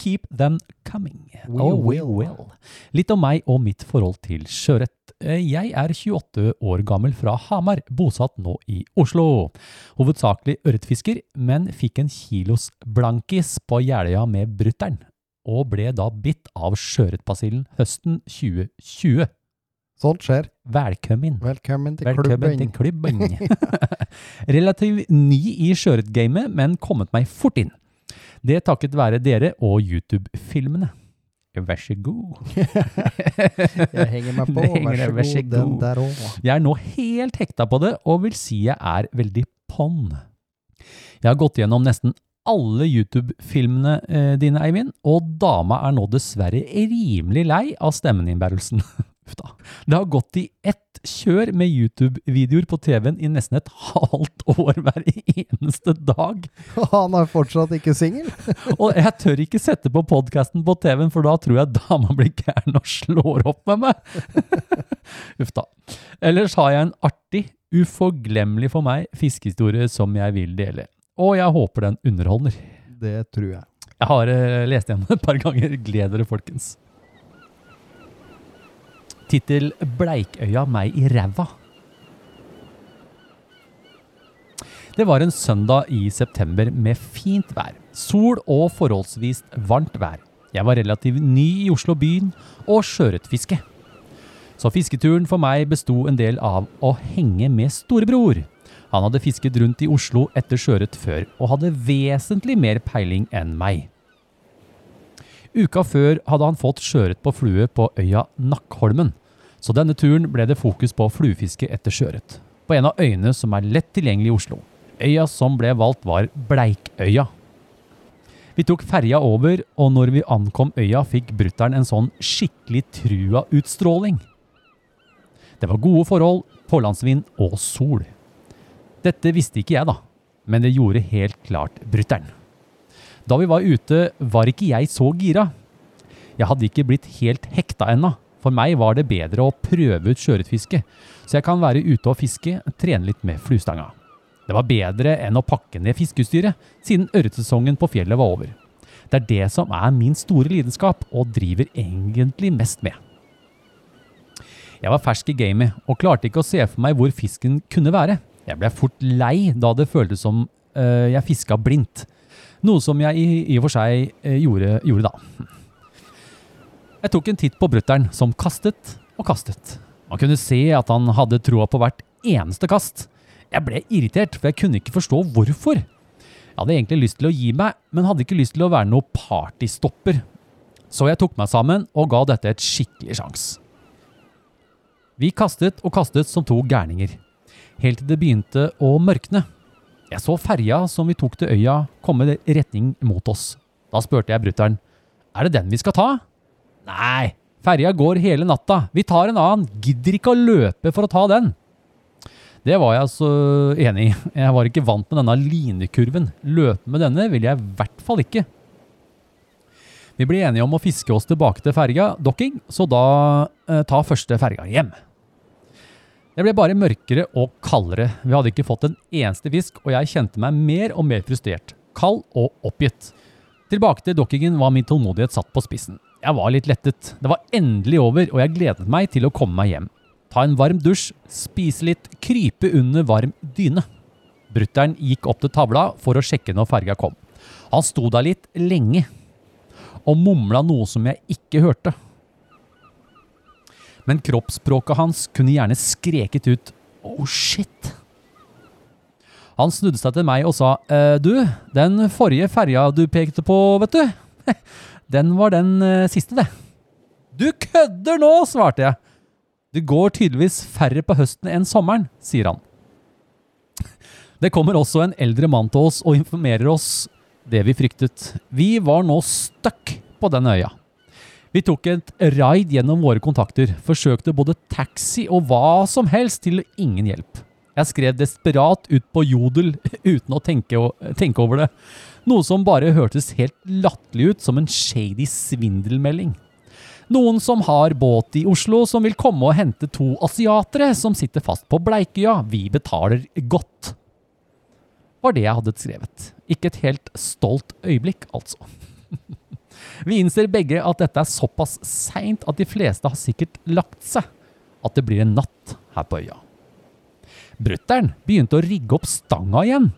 Speaker 2: Keep them coming.
Speaker 6: We
Speaker 2: oh, we
Speaker 6: will.
Speaker 2: will. Litt om meg og mitt forhold til sjøørret. Eh, Jeg er 28 år gammel fra Hamar, bosatt nå i Oslo. Hovedsakelig ørretfisker, men fikk en kilos blankis på Jeløya med brutter'n. Og ble da bitt av sjøørretbasillen høsten 2020.
Speaker 6: Sånt skjer.
Speaker 2: Velkommen.
Speaker 6: Velkommen til
Speaker 2: Velkommen til
Speaker 6: klubben.
Speaker 2: klubben.
Speaker 6: (laughs)
Speaker 2: Relativt ny i sjøørretgamet, men kommet meg fort inn. Det takket være dere og YouTube-filmene. Vær så god.
Speaker 6: (laughs)
Speaker 2: (laughs)
Speaker 6: Jeg henger meg på.
Speaker 2: Det (laughs) henger
Speaker 6: Vær
Speaker 2: deg,
Speaker 6: så
Speaker 2: vær så
Speaker 6: god, den
Speaker 2: god.
Speaker 6: der òg.
Speaker 2: Jeg er nå helt hekta på det, og vil si jeg er veldig på'n. Jeg har gått gjennom nesten alle YouTube-filmene eh, dine, Eivind, og dama er nå dessverre rimelig lei av stemmeninnbærelsen. (laughs) Uff da. Det har gått i ett kjør med YouTube-videoer på TV-en i nesten et halvt år hver eneste dag.
Speaker 6: (laughs) Han er fortsatt ikke singel.
Speaker 2: Og jeg tør ikke sette på podkasten på TV-en, for da tror jeg dama blir gæren og slår opp med meg. (laughs) Uff da. Ellers har jeg en artig, uforglemmelig for meg fiskehistorie som jeg vil dele. Og jeg håper den underholder.
Speaker 6: Det tror jeg.
Speaker 2: Jeg har eh, lest igjen et par ganger. Gled dere, folkens. Tittel 'Bleikøya meg i ræva'. Det var en søndag i september med fint vær. Sol og forholdsvis varmt vær. Jeg var relativt ny i Oslo byen og sjøørretfiske. Så fisketuren for meg besto en del av å henge med storebror. Han hadde fisket rundt i Oslo etter sjøørret før, og hadde vesentlig mer peiling enn meg. Uka før hadde han fått sjøørret på flue på øya Nakkholmen, så denne turen ble det fokus på fluefiske etter sjøørret, på en av øyene som er lett tilgjengelig i Oslo. Øya som ble valgt var Bleikøya. Vi tok ferja over, og når vi ankom øya fikk brutter'n en sånn skikkelig trua utstråling. Det var gode forhold, pålandsvind og sol. Dette visste ikke jeg, da, men det gjorde helt klart brutter'n. Da vi var ute, var ikke jeg så gira. Jeg hadde ikke blitt helt hekta ennå. For meg var det bedre å prøve ut sjøørretfiske, så jeg kan være ute og fiske, trene litt med fluestanga. Det var bedre enn å pakke ned fiskeutstyret, siden ørretsesongen på fjellet var over. Det er det som er min store lidenskap, og driver egentlig mest med. Jeg var fersk i gamet og klarte ikke å se for meg hvor fisken kunne være. Jeg ble fort lei da det føltes som øh, jeg fiska blindt. Noe som jeg i, i og for seg eh, gjorde, gjorde da. Jeg tok en titt på brutter'n, som kastet og kastet. Man kunne se at han hadde troa på hvert eneste kast. Jeg ble irritert, for jeg kunne ikke forstå hvorfor. Jeg hadde egentlig lyst til å gi meg, men hadde ikke lyst til å være noe partystopper. Så jeg tok meg sammen og ga dette et skikkelig sjans. Vi kastet og kastet som to gærninger, helt til det begynte å mørkne. Jeg så ferja som vi tok til øya komme i retning mot oss. Da spurte jeg brutter'n. Er det den vi skal ta? Nei, ferja går hele natta. Vi tar en annen. Gidder ikke å løpe for å ta den. Det var jeg så enig i. Jeg var ikke vant med denne linekurven. Løpe med denne ville jeg i hvert fall ikke. Vi ble enige om å fiske oss tilbake til ferja, dokking, så da eh, ta første ferja hjem. Det ble bare mørkere og kaldere. Vi hadde ikke fått en eneste fisk, og jeg kjente meg mer og mer frustrert. Kald og oppgitt. Tilbake til dokkingen var min tålmodighet satt på spissen. Jeg var litt lettet. Det var endelig over, og jeg gledet meg til å komme meg hjem. Ta en varm dusj, spise litt, krype under varm dyne. Brutter'n gikk opp til tavla for å sjekke når ferga kom. Han sto der litt lenge og mumla noe som jeg ikke hørte. Men kroppsspråket hans kunne gjerne skreket ut 'oh shit'. Han snudde seg til meg og sa «Eh, 'Du, den forrige ferja du pekte på, vet du, (laughs) den var den eh, siste, det'. 'Du kødder nå', svarte jeg. 'Det går tydeligvis færre på høsten enn sommeren', sier han. Det kommer også en eldre mann til oss og informerer oss det vi fryktet. Vi var nå stuck på den øya. Vi tok et raid gjennom våre kontakter, forsøkte både taxi og hva som helst til ingen hjelp. Jeg skrev desperat ut på Jodel (laughs) uten å tenke, o- tenke over det, noe som bare hørtes helt latterlig ut som en shady svindelmelding. Noen som har båt i Oslo som vil komme og hente to asiatere som sitter fast på Bleikøya. Vi betaler godt var det jeg hadde skrevet. Ikke et helt stolt øyeblikk, altså. Vi innser begge at dette er såpass seint at de fleste har sikkert lagt seg. At det blir en natt her på øya. Brutter'n begynte å rigge opp stanga igjen.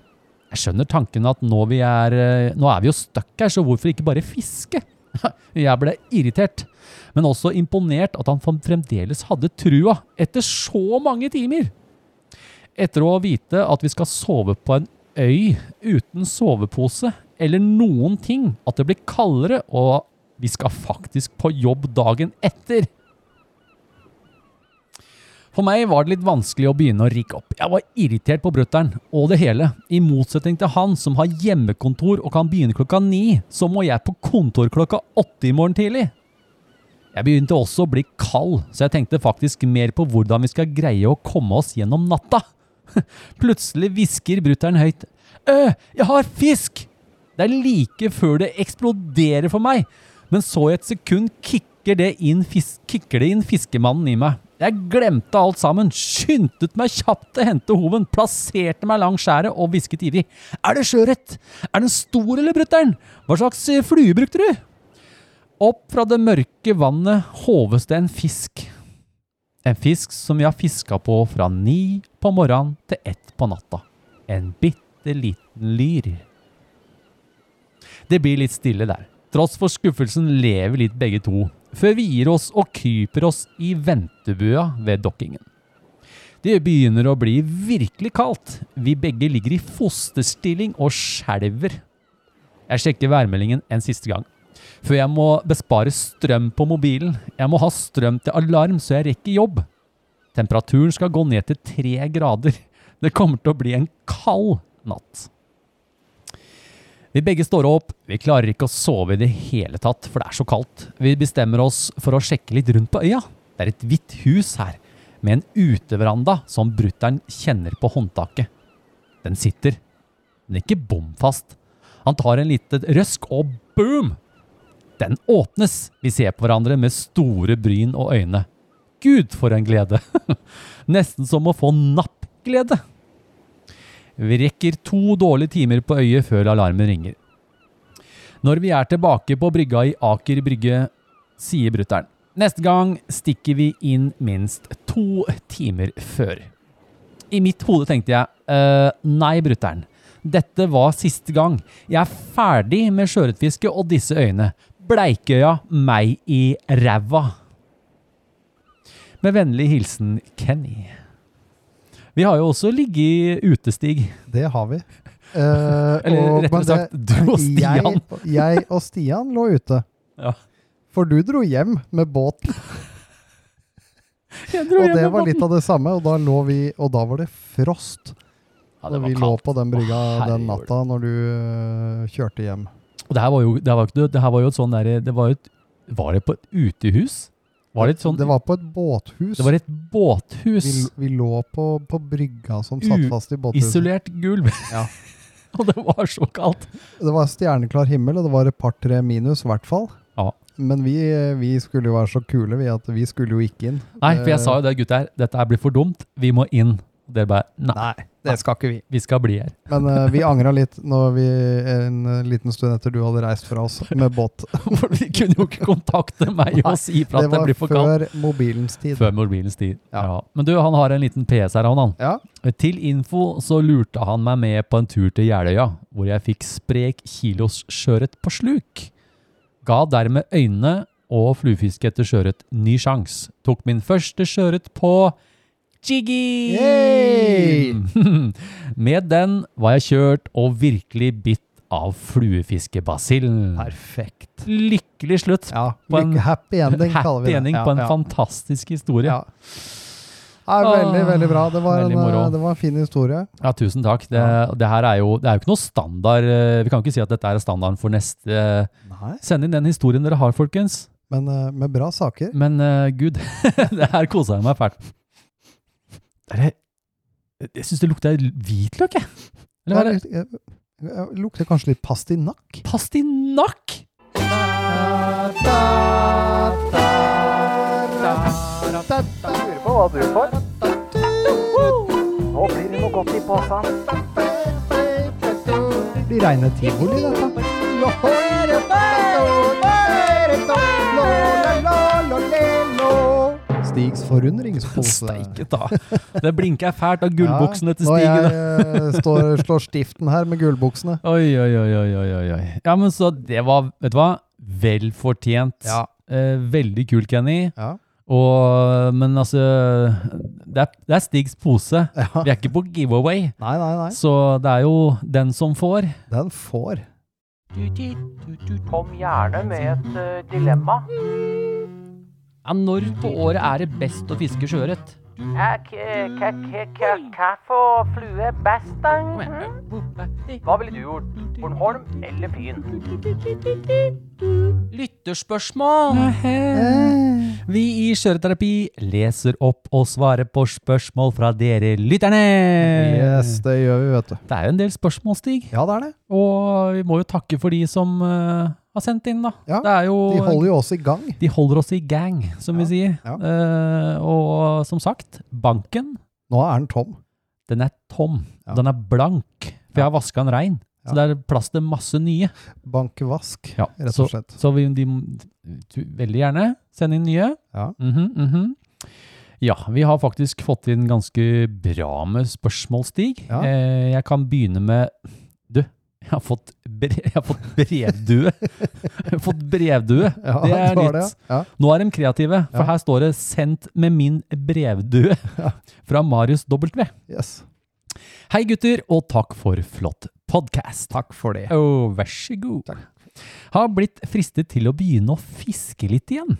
Speaker 2: Jeg skjønner tanken at nå, vi er, eh, nå er vi jo stuck her, så hvorfor ikke bare fiske? (laughs) Jeg ble irritert, men også imponert at han fremdeles hadde trua etter så mange timer. Etter å vite at vi skal sove på en øy uten sovepose eller noen ting, at det blir kaldere og vi skal faktisk på jobb dagen etter. For meg var det litt vanskelig å begynne å rigge opp. Jeg var irritert på brutter'n og det hele. I motsetning til han som har hjemmekontor og kan begynne klokka ni, så må jeg på kontor klokka åtte i morgen tidlig. Jeg begynte også å bli kald, så jeg tenkte faktisk mer på hvordan vi skal greie å komme oss gjennom natta. Plutselig hvisker brutter'n høyt. «Øh, jeg har fisk! Det er like før det eksploderer for meg. Men så i et sekund kicker det inn, fis kicker det inn fiskemannen i meg. Jeg glemte alt sammen, skyndtet meg kjapt til å hente hoven, plasserte meg langs skjæret og hvisket ivrig. Er det sjøørret? Er den stor, eller, brutter'n? Hva slags eh, flue brukte du? Opp fra det mørke vannet håves det en fisk. En fisk som vi har fiska på fra ni på morgenen til ett på natta. En bitte liten lyr. Det blir litt stille der. Tross for skuffelsen lever litt begge to, før vi gir oss og kryper oss i ventebua ved dokkingen. Det begynner å bli virkelig kaldt. Vi begge ligger i fosterstilling og skjelver. Jeg sjekker værmeldingen en siste gang før jeg må bespare strøm på mobilen. Jeg må ha strøm til alarm, så jeg rekker jobb. Temperaturen skal gå ned til tre grader. Det kommer til å bli en kald natt. Vi begge står opp. Vi klarer ikke å sove i det hele tatt, for det er så kaldt. Vi bestemmer oss for å sjekke litt rundt på øya. Det er et hvitt hus her, med en uteveranda som brutter'n kjenner på håndtaket. Den sitter, men ikke bom fast. Han tar en liten røsk, og boom! Den åpnes. Vi ser på hverandre med store bryn og øyne. Gud, for en glede! (laughs) Nesten som å få nappglede. Vi rekker to dårlige timer på øyet før alarmen ringer. Når vi er tilbake på brygga i Aker brygge, sier brutter'n. Neste gang stikker vi inn minst to timer før. I mitt hode tenkte jeg «Eh, Nei, brutter'n. Dette var siste gang. Jeg er ferdig med sjøørretfiske og disse øyene. Bleikøya meg i ræva. Med vennlig hilsen Kenny. Vi har jo også ligget i utestig.
Speaker 6: Det har vi. Eh,
Speaker 2: Eller
Speaker 6: og-
Speaker 2: rettere
Speaker 6: men det-
Speaker 2: sagt, du og Stian.
Speaker 6: Jeg, jeg og Stian lå ute.
Speaker 2: Ja.
Speaker 6: For du dro hjem med båt,
Speaker 2: Jeg dro
Speaker 6: og
Speaker 2: hjem
Speaker 6: det
Speaker 2: med
Speaker 6: var litt
Speaker 2: båten.
Speaker 6: av det samme. Og da lå vi, og da var det frost.
Speaker 2: Ja, det
Speaker 6: Da
Speaker 2: var
Speaker 6: vi lå
Speaker 2: kaldt.
Speaker 6: på den brygga
Speaker 2: Å,
Speaker 6: den
Speaker 2: herregud.
Speaker 6: natta når du eh, kjørte hjem.
Speaker 2: Og det her var jo, det her var, jo ikke- det her var jo et sånn derre Det var jo et Var det på et utehus? Var det et sånn
Speaker 6: Det var på et båthus.
Speaker 2: det var et båthus.
Speaker 6: vi, vi lå på, på brygga som satt
Speaker 2: U-
Speaker 6: fast i båthuset.
Speaker 2: Isolert gulv.
Speaker 6: Ja.
Speaker 2: (laughs) og det var så kaldt.
Speaker 6: Det var stjerneklar himmel, og det var et par-tre minus, i hvert fall.
Speaker 2: Ja.
Speaker 6: Men vi, vi skulle jo være så kule, vi, at vi skulle jo ikke inn.
Speaker 2: Nei, for jeg sa jo det, gutter, dette her blir for dumt. Vi må inn. Dere bare Nei,
Speaker 6: Eh, Nei, det skal ikke vi.
Speaker 2: vi skal bli her. (laughs)
Speaker 6: Men eh, vi angra litt når vi en eh, liten stund etter du hadde reist fra oss med båt.
Speaker 2: (laughs) For de kunne jo ikke kontakte meg og si fra
Speaker 6: Det
Speaker 2: at det
Speaker 6: var
Speaker 2: blir for kaldt.
Speaker 6: før mobilens tid.
Speaker 2: Før mobilens tid.
Speaker 6: Ja.
Speaker 2: Ja. Men du, han har en liten PS her, han. han.
Speaker 6: Ja,
Speaker 2: Til info så lurte han meg med på en tur til Jeløya, hvor jeg fikk sprek kilos sjøørret på sluk. Ga dermed øynene og fluefiske etter sjøørret ny sjans. Tok min første sjøørret på Jiggy!
Speaker 6: Yay!
Speaker 2: (laughs) med den var jeg kjørt og virkelig bitt av fluefiskebasillen.
Speaker 6: perfekt.
Speaker 2: Lykkelig slutt.
Speaker 6: Ja,
Speaker 2: På en
Speaker 6: lykke- happy ending, kaller vi
Speaker 2: Happy
Speaker 6: det.
Speaker 2: ending
Speaker 6: ja,
Speaker 2: på en
Speaker 6: ja.
Speaker 2: fantastisk historie.
Speaker 6: Ja. Nei, veldig,
Speaker 2: Åh,
Speaker 6: veldig bra. Det var,
Speaker 2: veldig
Speaker 6: en, eh,
Speaker 2: moro.
Speaker 6: det var en fin historie.
Speaker 2: Ja, tusen takk. Det, det her er jo, det er jo ikke noe standard. eh, Vi kan ikke si at dette er standarden for neste. eh,
Speaker 6: Nei.
Speaker 2: Send inn den historien dere har, folkens.
Speaker 6: Men eh, med bra saker.
Speaker 2: Men eh, gud, (laughs) det her kosa jeg meg fælt. Er det, jeg syns det lukter hvitløk, jeg. Eller hva er det?
Speaker 6: Jeg- jeg- jeg eh, Lukter kanskje litt pastinakk?
Speaker 2: Pastinakk!
Speaker 5: Lurer på hva du får. Nå blir det noe godt i posen.
Speaker 6: Det blir reine tivoli, dette. Stigs forundringspose.
Speaker 2: Steike ta. Det blinker fælt av gullbuksene til
Speaker 6: eh. (laughs)
Speaker 2: Stig.
Speaker 6: Ja,
Speaker 2: da.
Speaker 6: Når jeg eh, står, slår stiften her med gullbuksene.
Speaker 2: Oi, oi, oi, oi, oi, oi, oi. Ja, men så det var, vet du hva? Velfortjent.
Speaker 6: Ja.
Speaker 2: Eh, veldig kul, Kenny.
Speaker 6: Ja.
Speaker 2: Og, men altså, det er, det er Stigs pose. Vi er ikke på giveaway,
Speaker 6: Nei, nei, nei.
Speaker 2: så det er jo den som får.
Speaker 6: Den får.
Speaker 3: Kom gjerne med et eh, dilemma.
Speaker 1: Ja, når på året er det best å fiske sjøørret?
Speaker 3: Hva for flue best, da? Mhm. Hva ville du gjort? Bornholm eller Fyn?
Speaker 1: Lytterspørsmål!
Speaker 2: Vi i Kjøreterapi leser opp og svarer på spørsmål fra dere lytterne.
Speaker 6: Yes, det gjør vi, vet du.
Speaker 2: Det er jo en del spørsmål, Stig.
Speaker 6: Ja, det er det.
Speaker 2: Og vi må jo takke for de som eh, har sendt inn, da.
Speaker 6: Ja,
Speaker 2: det er jo,
Speaker 6: De holder jo oss i gang.
Speaker 2: De holder oss i gang, som vi sier.
Speaker 6: ja.
Speaker 2: Eh, og som sagt, banken,
Speaker 6: Nå er den tom.
Speaker 2: den er tom.
Speaker 6: Ja.
Speaker 2: Den er blank. For jeg har vaska den rein. Så det er plass til masse nye.
Speaker 6: Bankvask,
Speaker 2: Ja,
Speaker 6: rett og slett.
Speaker 2: Så vi, de, du, veldig gjerne send inn nye.
Speaker 6: Ja.
Speaker 2: Mhm, mhm. Ja, vi har faktisk fått inn ganske bra med spørsmål, Stig.
Speaker 6: Ja.
Speaker 2: Eh, jeg kan begynne med Du, jeg har fått, brev, jeg har fått brevdue. jeg har fått brevdue.
Speaker 6: Ja,
Speaker 2: det er
Speaker 6: var
Speaker 2: nytt.
Speaker 6: ja. Ja.
Speaker 2: Nå er de kreative, for
Speaker 6: Ja.
Speaker 2: her står det 'Sendt med min brevdue' fra Marius W.
Speaker 6: Yes.
Speaker 2: Hei gutter, og takk for flott podkast.
Speaker 6: Takk for det.
Speaker 2: Oh, vær så god. Har blitt fristet til å begynne å fiske litt igjen.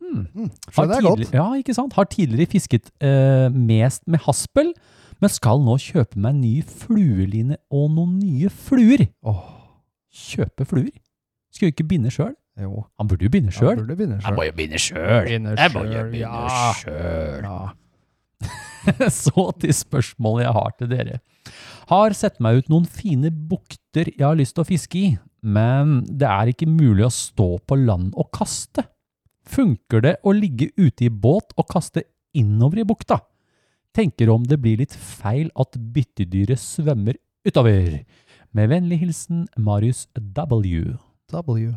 Speaker 6: Mm.
Speaker 2: Har
Speaker 6: Skjønner jeg godt.
Speaker 2: tidlig- Ja, ikke sant? Har tidligere fisket eh, mest med haspel, men skal nå kjøpe meg en ny flueline og noen nye fluer. Kjøpe fluer? Skulle ikke binde sjøl.
Speaker 6: Jo,
Speaker 2: Han burde jo binde
Speaker 6: han
Speaker 2: sjøl.
Speaker 6: burde begynne
Speaker 1: Jeg
Speaker 6: sjøl.
Speaker 1: må jo begynne sjøl!
Speaker 6: Begynne
Speaker 1: Jeg må jo
Speaker 6: sjøl,
Speaker 1: begynne
Speaker 6: ja.
Speaker 1: sjøl!
Speaker 6: Ja.
Speaker 2: (laughs) Så til spørsmålet jeg har til dere. Har sett meg ut noen fine bukter jeg har lyst til å fiske i, men det er ikke mulig å stå på land og kaste. Funker det å ligge ute i båt og kaste innover i bukta? Tenker om det blir litt feil at byttedyret svømmer utover. Med vennlig hilsen Marius W.
Speaker 6: W.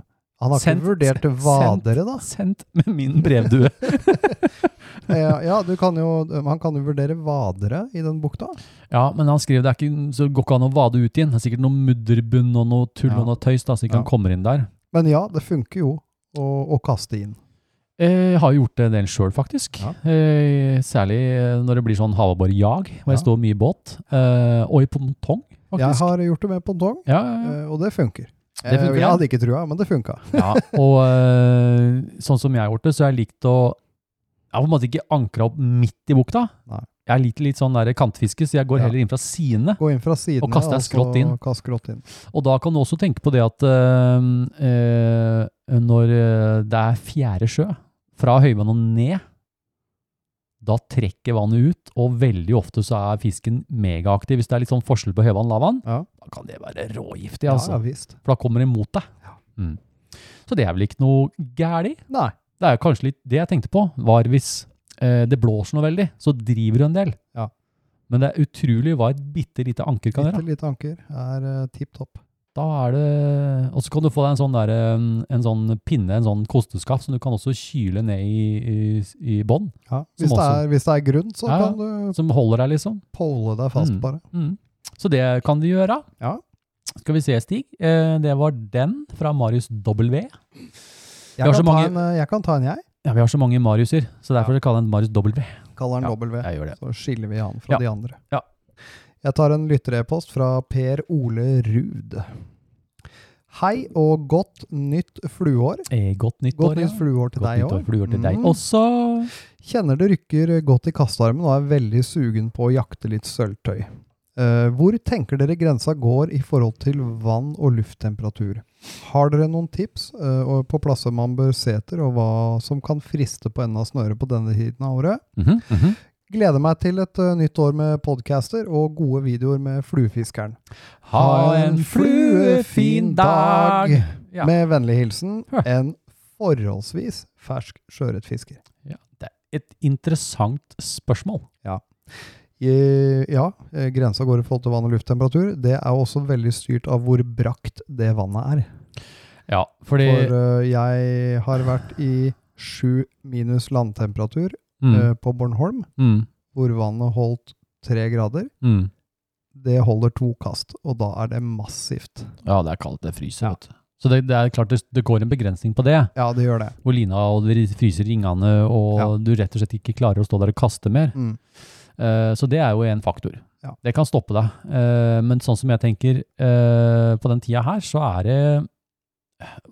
Speaker 6: Han har
Speaker 2: Sendt-
Speaker 6: ikke vurdert vadere, da.
Speaker 2: Sendt med min brevdue.
Speaker 6: Ja, ja, du kan jo, han kan jo vurdere vadere i den bukta.
Speaker 2: (laughs) Ja, men han skriver det er ikke, så det går ikke an å vade ut igjen. Det er sikkert noe mudderbunn og noe tull
Speaker 6: Ja.
Speaker 2: og noe tøys, da, så ikke
Speaker 6: Ja.
Speaker 2: han kommer inn der.
Speaker 6: Men ja, det funker jo å, å kaste inn.
Speaker 2: Eh, Jeg har gjort det en del sjøl, faktisk.
Speaker 6: Ja.
Speaker 2: Eh, Særlig eh, når det blir sånn havabbor-jag, hvor
Speaker 6: Ja.
Speaker 2: jeg står mye i båt. eh, Og i pontong,
Speaker 6: Jeg
Speaker 2: faktisk.
Speaker 6: har gjort det med pongtong,
Speaker 2: Ja, ja, ja.
Speaker 6: eh, og det funker.
Speaker 2: Det funker,
Speaker 6: Eh, jeg
Speaker 2: ja.
Speaker 6: hadde ikke trua, men det funka.
Speaker 2: ja, (laughs) og eh, sånn som jeg har gjort det, så har jeg likt å Jeg har på en måte ikke ankra opp midt i bukta.
Speaker 6: Nei.
Speaker 2: Jeg er litt, litt sånn der kantfiske, så jeg går
Speaker 6: Ja.
Speaker 2: heller inn fra sidene.
Speaker 6: Gå inn fra sidene
Speaker 2: Og kaste deg skrått inn.
Speaker 6: Og kast skrått inn.
Speaker 2: Og da kan du også tenke på det at eh, eh, når eh, det er fjerde sjø, fra høyvann og ned, da trekker vannet ut, og veldig ofte så er fisken megaaktiv. Hvis det er litt sånn forskjell på høyvann og lavvann,
Speaker 6: Ja.
Speaker 2: da kan det være rågiftig,
Speaker 6: Ja,
Speaker 2: altså.
Speaker 6: ja visst.
Speaker 2: For da kommer det mot deg. Mm. Så det er vel ikke noe gærlig.
Speaker 6: Nei.
Speaker 2: Det er jo kanskje litt det jeg tenkte på, var hvis eh, det blåser noe veldig, så driver du en del.
Speaker 6: Ja.
Speaker 2: Men det er utrolig hva et bitte lite anker kan
Speaker 6: Bitte
Speaker 2: gjøre.
Speaker 6: lite anker er uh, tipp topp.
Speaker 2: Da er det, Og så kan du få deg en sånn, der, eh, en sånn pinne, en sånn kosteskaft, som du kan også kyle ned i, i, i bånn.
Speaker 6: Ja,
Speaker 2: Som
Speaker 6: hvis, det
Speaker 2: også-
Speaker 6: er, hvis det er grunn, så
Speaker 2: Ja, ja.
Speaker 6: kan du
Speaker 2: Som holder deg, liksom.
Speaker 6: pole deg fast,
Speaker 2: Mm.
Speaker 6: bare.
Speaker 2: Mm. Så det kan de gjøre.
Speaker 6: Ja.
Speaker 2: Skal vi se, Stig. Eh, det var den fra Marius W. Vi har
Speaker 6: Jeg
Speaker 2: så
Speaker 6: kan,
Speaker 2: mange-
Speaker 6: ta en, eh, jeg kan ta en, jeg.
Speaker 2: Ja, vi har så mange Mariuser, så derfor kaller jeg den Marius W.
Speaker 6: Kaller den W.
Speaker 2: Jeg gjør det.
Speaker 6: Så skiller vi han fra
Speaker 2: Ja.
Speaker 6: de andre.
Speaker 2: Ja.
Speaker 6: Jeg tar en lytterepost fra Per Ole Ruud. Hei og godt nytt flueår.
Speaker 2: Eh, godt nytt
Speaker 6: Godt
Speaker 2: år.
Speaker 6: nytt flueår til
Speaker 2: Godt
Speaker 6: deg
Speaker 2: nytt år,
Speaker 6: òg.
Speaker 2: fluer til deg
Speaker 6: Mm.
Speaker 2: også.
Speaker 6: Kjenner det rykker godt i kastarmen og er veldig sugen på å jakte litt sølvtøy. Eh, hvor tenker dere grensa går i forhold til vann- og lufttemperatur? Har dere noen tips eh, og på plasser man bør se etter, og hva som kan friste på enden av snøret på denne tiden av året?
Speaker 2: Mhm, mhm.
Speaker 6: Gleder meg til et eh, nytt år med podcaster og gode videoer med fluefiskeren.
Speaker 2: Ha en fluefin dag! Ja.
Speaker 6: Med vennlig hilsen
Speaker 2: Ja.
Speaker 6: en forholdsvis fersk sjøørretfisker.
Speaker 2: Ja, det er et interessant spørsmål.
Speaker 6: Eh, Ja, eh, grensa går i forhold til vann og lufttemperatur. Det er jo også veldig styrt av hvor brakt det vannet er.
Speaker 2: Ja, fordi
Speaker 6: For eh, jeg har vært i sju minus landtemperatur eh,
Speaker 2: mm,
Speaker 6: på Bornholm,
Speaker 2: mm,
Speaker 6: hvor vannet holdt tre grader.
Speaker 2: mm.
Speaker 6: Det holder to kast, og da er det massivt.
Speaker 2: Ja, det er kaldt, det fryser.
Speaker 6: Ja.
Speaker 2: vet du. Så det, det er klart det, det går en begrensning på det.
Speaker 6: Ja, det gjør det.
Speaker 2: Hvor lina og det fryser i ringene, og
Speaker 6: Ja.
Speaker 2: du rett og slett ikke klarer å stå der og kaste mer.
Speaker 6: Mm.
Speaker 2: Eh, så det er jo en faktor.
Speaker 6: Ja.
Speaker 2: Det kan stoppe deg. Eh, men sånn som jeg tenker, eh, på den tida her, så er det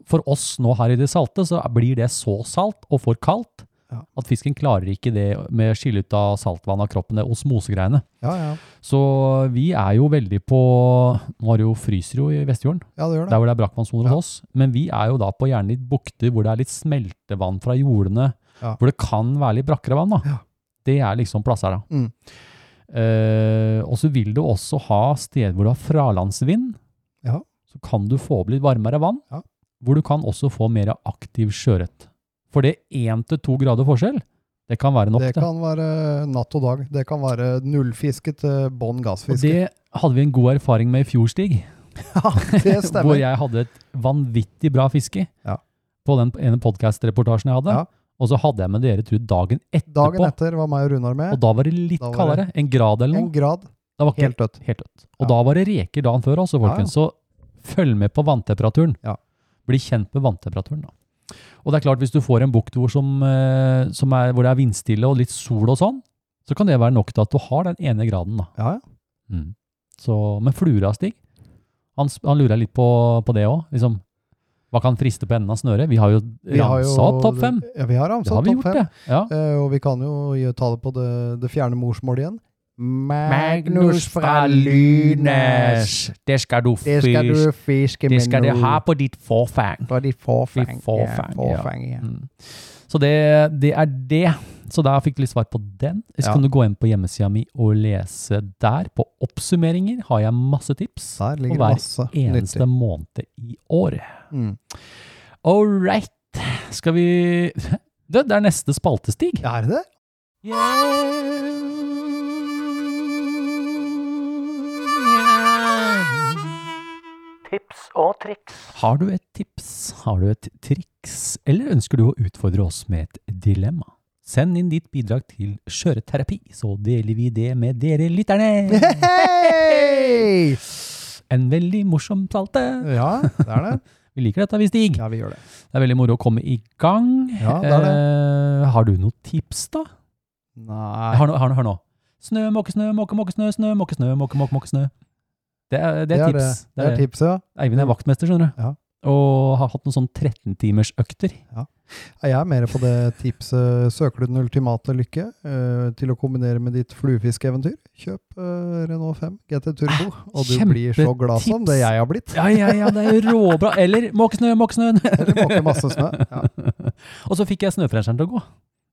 Speaker 2: For oss nå her i det salte, så blir det så salt og for kaldt
Speaker 6: Ja.
Speaker 2: at fisken klarer ikke det med å skille ut av saltvann av kroppen, det osmosegreiene.
Speaker 6: Ja, ja.
Speaker 2: Så vi er jo veldig på Nå er det jo fryser jo i Vestfjorden,
Speaker 6: ja det gjør det.
Speaker 2: der hvor det er brakkvannssoner
Speaker 6: Ja.
Speaker 2: hos oss. Men vi er jo da på gjerne litt bukter hvor det er litt smeltevann fra jordene.
Speaker 6: Ja.
Speaker 2: Hvor det kan være litt brakkere vann. da.
Speaker 6: Ja.
Speaker 2: Det er liksom plasser, da.
Speaker 6: Mm.
Speaker 2: Eh, og så vil du også ha steder hvor du har fralandsvind.
Speaker 6: Ja.
Speaker 2: Så kan du få opp litt varmere vann.
Speaker 6: Ja.
Speaker 2: Hvor du kan også få mer aktiv sjøørret. For det er én til to grader forskjell, det kan være nok.
Speaker 6: Det kan være natt og dag. Det kan være nullfiske til bånn
Speaker 2: og
Speaker 6: gassfiske.
Speaker 2: det hadde vi en god erfaring med i fjor, Stig.
Speaker 6: (laughs) ja, det
Speaker 2: Hvor
Speaker 6: stemmer.
Speaker 2: jeg hadde et vanvittig bra fiske
Speaker 6: Ja.
Speaker 2: på den ene podkast-reportasjen jeg hadde.
Speaker 6: Ja.
Speaker 2: Og så hadde jeg med dere, Trud, dagen etterpå.
Speaker 6: Dagen etter var meg og Runar
Speaker 2: Og
Speaker 6: med.
Speaker 2: da var det litt
Speaker 6: Da var
Speaker 2: kaldere. En grad eller
Speaker 6: En
Speaker 2: noe.
Speaker 6: grad.
Speaker 2: Da var ikke
Speaker 6: Helt
Speaker 2: helt,
Speaker 6: dødt.
Speaker 2: helt dødt. Og
Speaker 6: Ja.
Speaker 2: da var det reker dagen før også,
Speaker 6: Ja, ja.
Speaker 2: folkens. Så følg med på vanntemperaturen.
Speaker 6: Ja.
Speaker 2: Bli kjent med vanntemperaturen, da. Og det er klart, hvis du får en bukt hvor, som, eh, som er, hvor det er vindstille og litt sol og sånn, så kan det være nok til at du har den ene graden, da.
Speaker 6: Ja, ja.
Speaker 2: Mm. Så, men flura, Stig, han, s- han lurer litt på, på det òg. Liksom, hva kan friste på enden av snøret? Vi har jo
Speaker 6: Vi har jo-
Speaker 2: ramsa opp topp fem.
Speaker 6: Ja, vi har
Speaker 2: Det
Speaker 6: ramsa
Speaker 2: har
Speaker 6: opp
Speaker 2: vi
Speaker 6: topp
Speaker 2: gjort,
Speaker 6: fem.
Speaker 2: det. Ja.
Speaker 6: Eh, og vi kan jo gi- ta det på det, det fjerne morsmålet igjen.
Speaker 2: det skal du
Speaker 6: Det skal du fiske med nå.
Speaker 2: på ditt forfang.
Speaker 6: På ditt forfang.
Speaker 2: Ditt forfang,
Speaker 6: ja.
Speaker 2: ja.
Speaker 6: Forfang, ja.
Speaker 2: Mm. Så det, det er det. Så da fikk du litt svar på den. Hvis
Speaker 6: Ja.
Speaker 2: kan du gå inn på hjemmesida mi og lese der. På oppsummeringer har jeg masse tips.
Speaker 6: Der ligger
Speaker 2: Og hver
Speaker 6: masse
Speaker 2: Eneste
Speaker 6: nyttig.
Speaker 2: måned i året.
Speaker 6: Mm.
Speaker 2: All right. Skal vi (laughs) Det, det er neste spaltestig.
Speaker 6: Ja, er det det?
Speaker 3: Tips og triks.
Speaker 2: Har du et tips, har du et triks, eller ønsker du å utfordre oss med et dilemma? Send inn ditt bidrag til Skjøreterapi, så deler vi det med dere
Speaker 6: (laughs)
Speaker 2: lytterne.
Speaker 6: Hei!
Speaker 2: En veldig morsom salte.
Speaker 6: Ja, det er
Speaker 2: (laughs)
Speaker 6: det.
Speaker 2: Vi liker dette, vi Stig.
Speaker 6: Ja, vi gjør det.
Speaker 2: Det er veldig moro å komme i gang.
Speaker 6: Ja, det er det.
Speaker 2: Eh, har du noen tips, da?
Speaker 6: Nei.
Speaker 2: Hør nå. Hør nå, hør nå. Snø, måke, snø, måke, måke, snø, snø, måke, snø, måke, måke, måke, snø. Det er, det er tips. Eh.
Speaker 6: Det, det er tipset, ja.
Speaker 2: Eivind er vaktmester, skjønner du.
Speaker 6: Ja.
Speaker 2: Og har hatt noen sånn 13-timersøkter.
Speaker 6: Jeg er mer på det tipset. Søker du den ultimate lykke eh, til å kombinere med ditt fluefiskeeventyr, kjøp eh, Renault 5 GT Turbo, og du blir så glad som
Speaker 2: Ah, kjempetips.
Speaker 6: det jeg har (laughs) blitt.
Speaker 2: Ja, ja, ja, det er jo råbra. Eller måkesnø, måkesnø.
Speaker 6: Eller måke masse snø. Ja.
Speaker 2: (laughs) Og så fikk jeg snøfrenseren til å gå.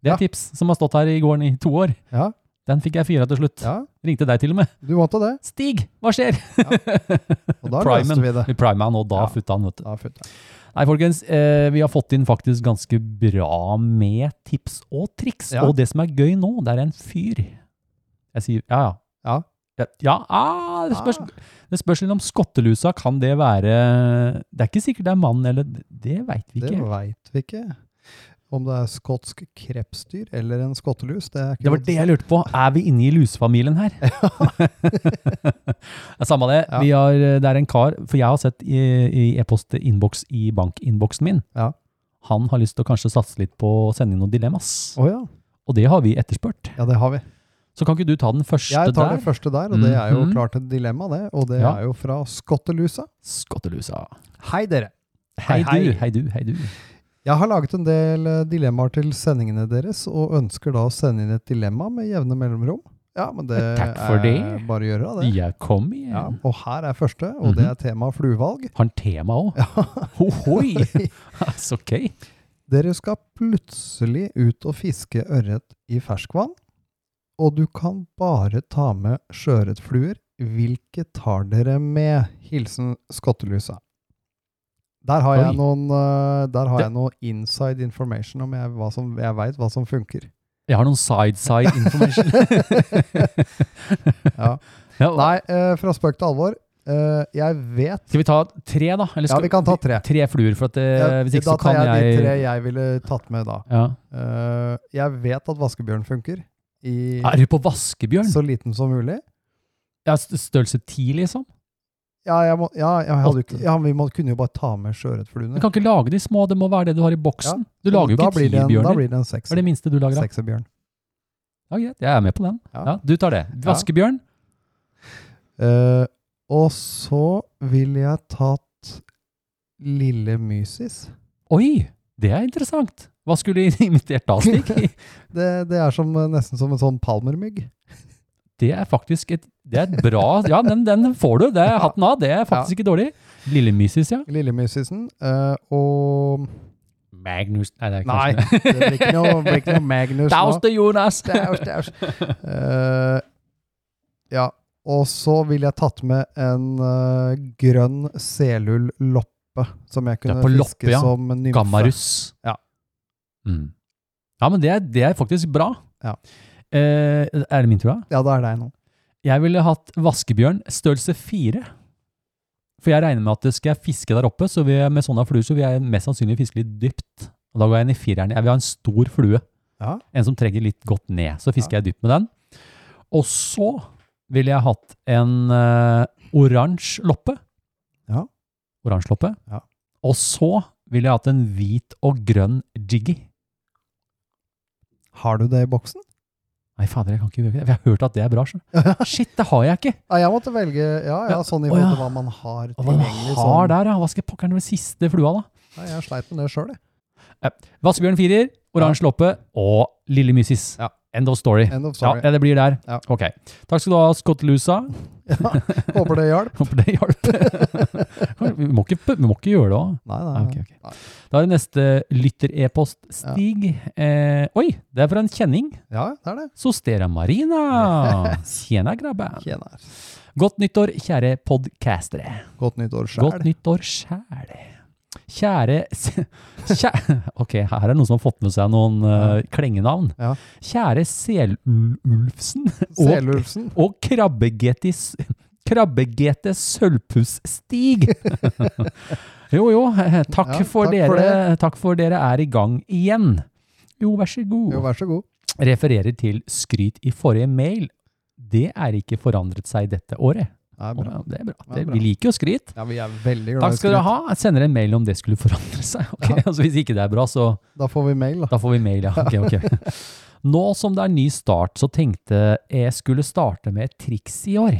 Speaker 2: Det er
Speaker 6: Ja.
Speaker 2: tips som har stått her i gården i to år.
Speaker 6: Ja.
Speaker 2: Den fikk jeg fyra til slutt.
Speaker 6: ja,
Speaker 2: Ringte deg til og med.
Speaker 6: du måtte det.
Speaker 2: Stig, hva
Speaker 6: (laughs)
Speaker 2: skjer?
Speaker 6: Og da
Speaker 2: Primen.
Speaker 6: løste vi det.
Speaker 2: Vi prima han, og da
Speaker 6: Ja.
Speaker 2: futta han, vet du.
Speaker 6: Da fikk jeg.
Speaker 2: Nei, folkens, eh, vi har fått inn faktisk ganske bra med tips og triks.
Speaker 6: Ja.
Speaker 2: Og det som er gøy nå, det er en fyr. Jeg sier, ja, ja.
Speaker 6: Ja.
Speaker 2: Ja, ah, det, spørs, det spørs litt om skottelusa. Kan det være Det er ikke sikkert det er mann, eller Det veit vi
Speaker 6: Det
Speaker 2: ikke.
Speaker 6: veit vi ikke. Om det er skotsk krepsdyr eller en skottelus, det er ikke
Speaker 2: Det var
Speaker 6: godt å
Speaker 2: det
Speaker 6: si.
Speaker 2: jeg lurte på. Er vi inne i lusefamilien
Speaker 6: (laughs)
Speaker 2: her? Det er Samme det.
Speaker 6: Ja.
Speaker 2: Vi har, det er en kar, for jeg har sett i, i e-post-innboks i bankinnboksen min.
Speaker 6: Ja.
Speaker 2: Han har lyst til å kanskje satse litt på å sende inn noen dilemmas.
Speaker 6: Å ja.
Speaker 2: Og det har vi etterspurt.
Speaker 6: ja, det har vi.
Speaker 2: Så kan ikke du ta den første
Speaker 6: Jeg tar det
Speaker 2: der?
Speaker 6: første der, og det er jo
Speaker 2: Mhm.
Speaker 6: klart et dilemma, det. Og det
Speaker 2: Ja.
Speaker 6: er jo fra skottelusa.
Speaker 2: Skottelusa.
Speaker 6: Hei, dere!
Speaker 2: Hei, du,
Speaker 6: Hei, hei.
Speaker 2: hei du, hei du.
Speaker 6: Jeg har laget en del eh, dilemmaer til sendingene deres, og ønsker da å sende inn et dilemma med jevne mellomrom. Ja, men det
Speaker 2: Takk for
Speaker 6: er
Speaker 2: det.
Speaker 6: bare å gjøre av det.
Speaker 2: Ja, Mhm. kom igjen.
Speaker 6: Ja, og her er første, og det er
Speaker 2: (laughs)
Speaker 6: tema fluevalg.
Speaker 2: Har han tema òg? (laughs)
Speaker 6: (laughs)
Speaker 2: Ohoi! Så gøy.
Speaker 6: Dere skal plutselig ut og fiske ørret i ferskvann, og du kan bare ta med sjøørretfluer. Hvilke tar dere med? Hilsen skottelusa. Der har jeg
Speaker 2: Oi.
Speaker 6: noen eh, Der har
Speaker 2: Det-
Speaker 6: jeg noe inside information om jeg, hva som, jeg veit hva som funker.
Speaker 2: Jeg har noen side-side information.
Speaker 6: (laughs) Ja.
Speaker 2: (laughs) Ja, og-
Speaker 6: Nei, eh, fra spøk til alvor. eh, jeg vet
Speaker 2: Skal vi ta tre, da? Eller skal
Speaker 6: Ja, vi kan ta tre.
Speaker 2: Tre fluer, for at det,
Speaker 6: Ja,
Speaker 2: Eh, hvis ikke
Speaker 6: da
Speaker 2: så kan
Speaker 6: tar
Speaker 2: jeg
Speaker 6: jeg, de tre jeg ville tatt med da.
Speaker 2: Ja.
Speaker 6: Eh, jeg vet at vaskebjørn funker i
Speaker 2: Er du på vaskebjørn?
Speaker 6: så liten som mulig.
Speaker 2: Ja, st- størrelse ti, liksom?
Speaker 6: Ja, jeg må, ja, jeg hadde jo
Speaker 2: Åtte.
Speaker 6: ikke, ja vi må, kunne jo bare ta med
Speaker 2: Du
Speaker 6: sjøørretfluene.
Speaker 2: kan ikke lage de små, det må være det du har i boksen. Du lager jo
Speaker 6: Da
Speaker 2: ikke
Speaker 6: blir
Speaker 2: ti
Speaker 6: det en- Da
Speaker 2: bjørner.
Speaker 6: blir det en
Speaker 2: Det er det
Speaker 6: sekser-
Speaker 2: minste du lager. da.
Speaker 6: sekserbjørn.
Speaker 2: Ja, greit, jeg er med på den.
Speaker 6: Ja.
Speaker 2: Ja, du tar det. Vaskebjørn.
Speaker 6: Eh, og så ville jeg tatt lille mysis.
Speaker 2: Oi, det er interessant. Hva skulle de (laughs) invitert da,
Speaker 6: (laughs)
Speaker 2: Stig?
Speaker 6: Det, det er som, nesten som en sånn palmermygg.
Speaker 2: Det er faktisk et det er et bra Ja, den, den får du. Det er hatten av. Det er faktisk ikke dårlig. Lille Mysis, ja.
Speaker 6: Lille mysisen. eh, og
Speaker 2: Magnus Nei, det er
Speaker 6: Nei,
Speaker 2: kanskje
Speaker 6: det blir ikke noe, blir ikke noe
Speaker 2: (laughs)
Speaker 6: Magnus nå.
Speaker 2: Daus til Jonas!
Speaker 6: Daus, daus. Eh, ja, og så ville jeg tatt med en eh, grønn selull-loppe, som jeg
Speaker 2: Ja,
Speaker 6: kunne
Speaker 2: på loppe,
Speaker 6: fiske
Speaker 2: ja.
Speaker 6: som nymfe.
Speaker 2: Gammarus.
Speaker 6: Ja.
Speaker 2: Mm. Ja, men det er, det er faktisk bra.
Speaker 6: Ja.
Speaker 2: Eh, er det min tur, da?
Speaker 6: Ja, det er deg nå.
Speaker 2: Jeg ville hatt vaskebjørn størrelse fire. For jeg regner med at skal jeg fiske der oppe, så vil jeg, med sånne fluer så vil jeg mest sannsynlig fiske litt dypt. Og da går jeg inn i fireren. Jeg vil ha en stor flue.
Speaker 6: Ja.
Speaker 2: En som trenger litt godt ned. Så fisker jeg dypt med den. Og så ville jeg hatt en eh, oransje loppe.
Speaker 6: Ja.
Speaker 2: Oransje loppe.
Speaker 6: Ja.
Speaker 2: Og så ville jeg hatt en hvit og grønn jiggy.
Speaker 6: Har du det i boksen?
Speaker 2: Nei, fader, jeg kan ikke gjøre det. For Jeg har hørt at det er bra. skjønner
Speaker 6: (laughs)
Speaker 2: du. Shit, det har jeg ikke.
Speaker 6: Ja, jeg måtte velge ja, ja,
Speaker 2: Ja,
Speaker 6: sånn i
Speaker 2: å, ja.
Speaker 6: forhold til hva man har
Speaker 2: Og Hva
Speaker 6: tilgjengelig.
Speaker 2: har
Speaker 6: sånn.
Speaker 2: der, ja? Hva skal jeg pakke den med siste flua, da?
Speaker 6: Ja, jeg sleit med det sjøl, jeg.
Speaker 2: Vassbjørn firer, oransje loppe og lille mysis.
Speaker 6: Ja.
Speaker 2: End of story.
Speaker 6: End of
Speaker 2: Ja,
Speaker 6: story.
Speaker 2: ja, det blir der.
Speaker 6: Ja.
Speaker 2: Ok. Takk skal du ha, Skottelusa.
Speaker 6: Håper det hjalp.
Speaker 2: (laughs) Håper det hjalp.
Speaker 6: (laughs)
Speaker 2: vi, må ikke, vi må ikke gjøre det òg.
Speaker 6: Nei, nei.
Speaker 2: Ah, ok, ok. Da er det neste lytter-e-post, Stig. Eh, oi, det er fra en kjenning.
Speaker 6: Ja, det er det.
Speaker 2: Sostera
Speaker 6: (laughs)
Speaker 2: Marina. Tjena, grabben.
Speaker 6: Tjener.
Speaker 2: Godt nyttår, kjære podcastere.
Speaker 6: Godt nyttår
Speaker 2: Godt
Speaker 6: sjæl.
Speaker 2: nyttår sjæl. Kjære, kjære Ok, her er det noen som har fått med seg noen eh, klengenavn.
Speaker 6: Ja.
Speaker 2: Kjære Selulfsen og,
Speaker 6: Selulfsen.
Speaker 2: og krabbegeti s- krabbegete Sølvpuss-Stig. jo, jo. eh, Takk,
Speaker 6: Ja,
Speaker 2: for
Speaker 6: takk
Speaker 2: dere,
Speaker 6: for
Speaker 2: takk for dere er i gang igjen. Jo, vær så god.
Speaker 6: Jo, vær så god.
Speaker 2: Refererer til skryt i forrige mail. Det er ikke forandret seg dette året.
Speaker 6: Det er
Speaker 2: Å,
Speaker 6: bra.
Speaker 2: ja, Det er bra.
Speaker 6: Ja,
Speaker 2: Det-
Speaker 6: bra.
Speaker 2: Vi liker jo skryt.
Speaker 6: Ja, vi er veldig glad
Speaker 2: Takk
Speaker 6: i
Speaker 2: skal dere
Speaker 6: skryt.
Speaker 2: ha. Jeg sender en mail om det skulle forandre seg. ok? (laughs)
Speaker 6: Ja.
Speaker 2: Altså, hvis ikke det er bra, så
Speaker 6: Da får vi mail, da.
Speaker 2: da får vi mail, ja. Ok, ok. Nå som det er ny start, så tenkte jeg skulle starte med et triks i år.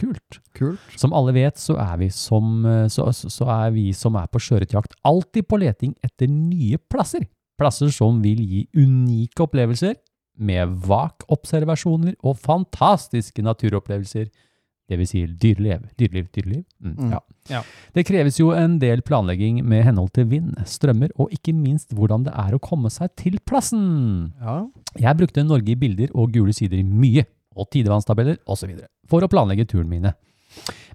Speaker 2: Kult.
Speaker 6: Kult.
Speaker 2: Som alle vet, så er vi som, eh, så, så så er, vi som er på sjøørretjakt alltid på leting etter nye plasser. Plasser som vil gi unike opplevelser, med vak-observasjoner og fantastiske naturopplevelser. Det vil si dyreliv. Dyreliv, dyreliv. Mm,
Speaker 6: Mm,
Speaker 2: ja.
Speaker 6: ja.
Speaker 2: Det kreves jo en del planlegging med henhold til vind, strømmer og ikke minst hvordan det er å komme seg til plassen.
Speaker 6: Ja.
Speaker 2: Jeg brukte Norge i bilder og gule sider i mye, og tidevannstabeller osv., for å planlegge turen mine.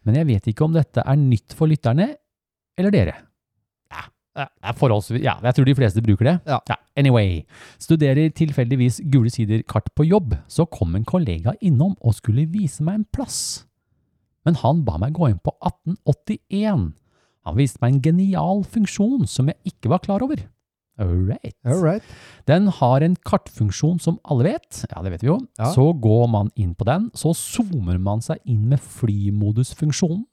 Speaker 2: Men jeg vet ikke om dette er nytt for lytterne, eller dere. Ja, Ja, det er forholdsvis, ja, jeg tror de fleste bruker det.
Speaker 6: Ja.
Speaker 2: anyway, studerer tilfeldigvis Gule sider-kart på jobb, så kom en kollega innom og skulle vise meg en plass. Men han ba meg gå inn på 1881. Han viste meg en genial funksjon som jeg ikke var klar over. Alright.
Speaker 6: All right.
Speaker 2: Den har en kartfunksjon som alle vet, ja det vet vi jo.
Speaker 6: Ja.
Speaker 2: Så går man inn på den, så zoomer man seg inn med flymodusfunksjonen,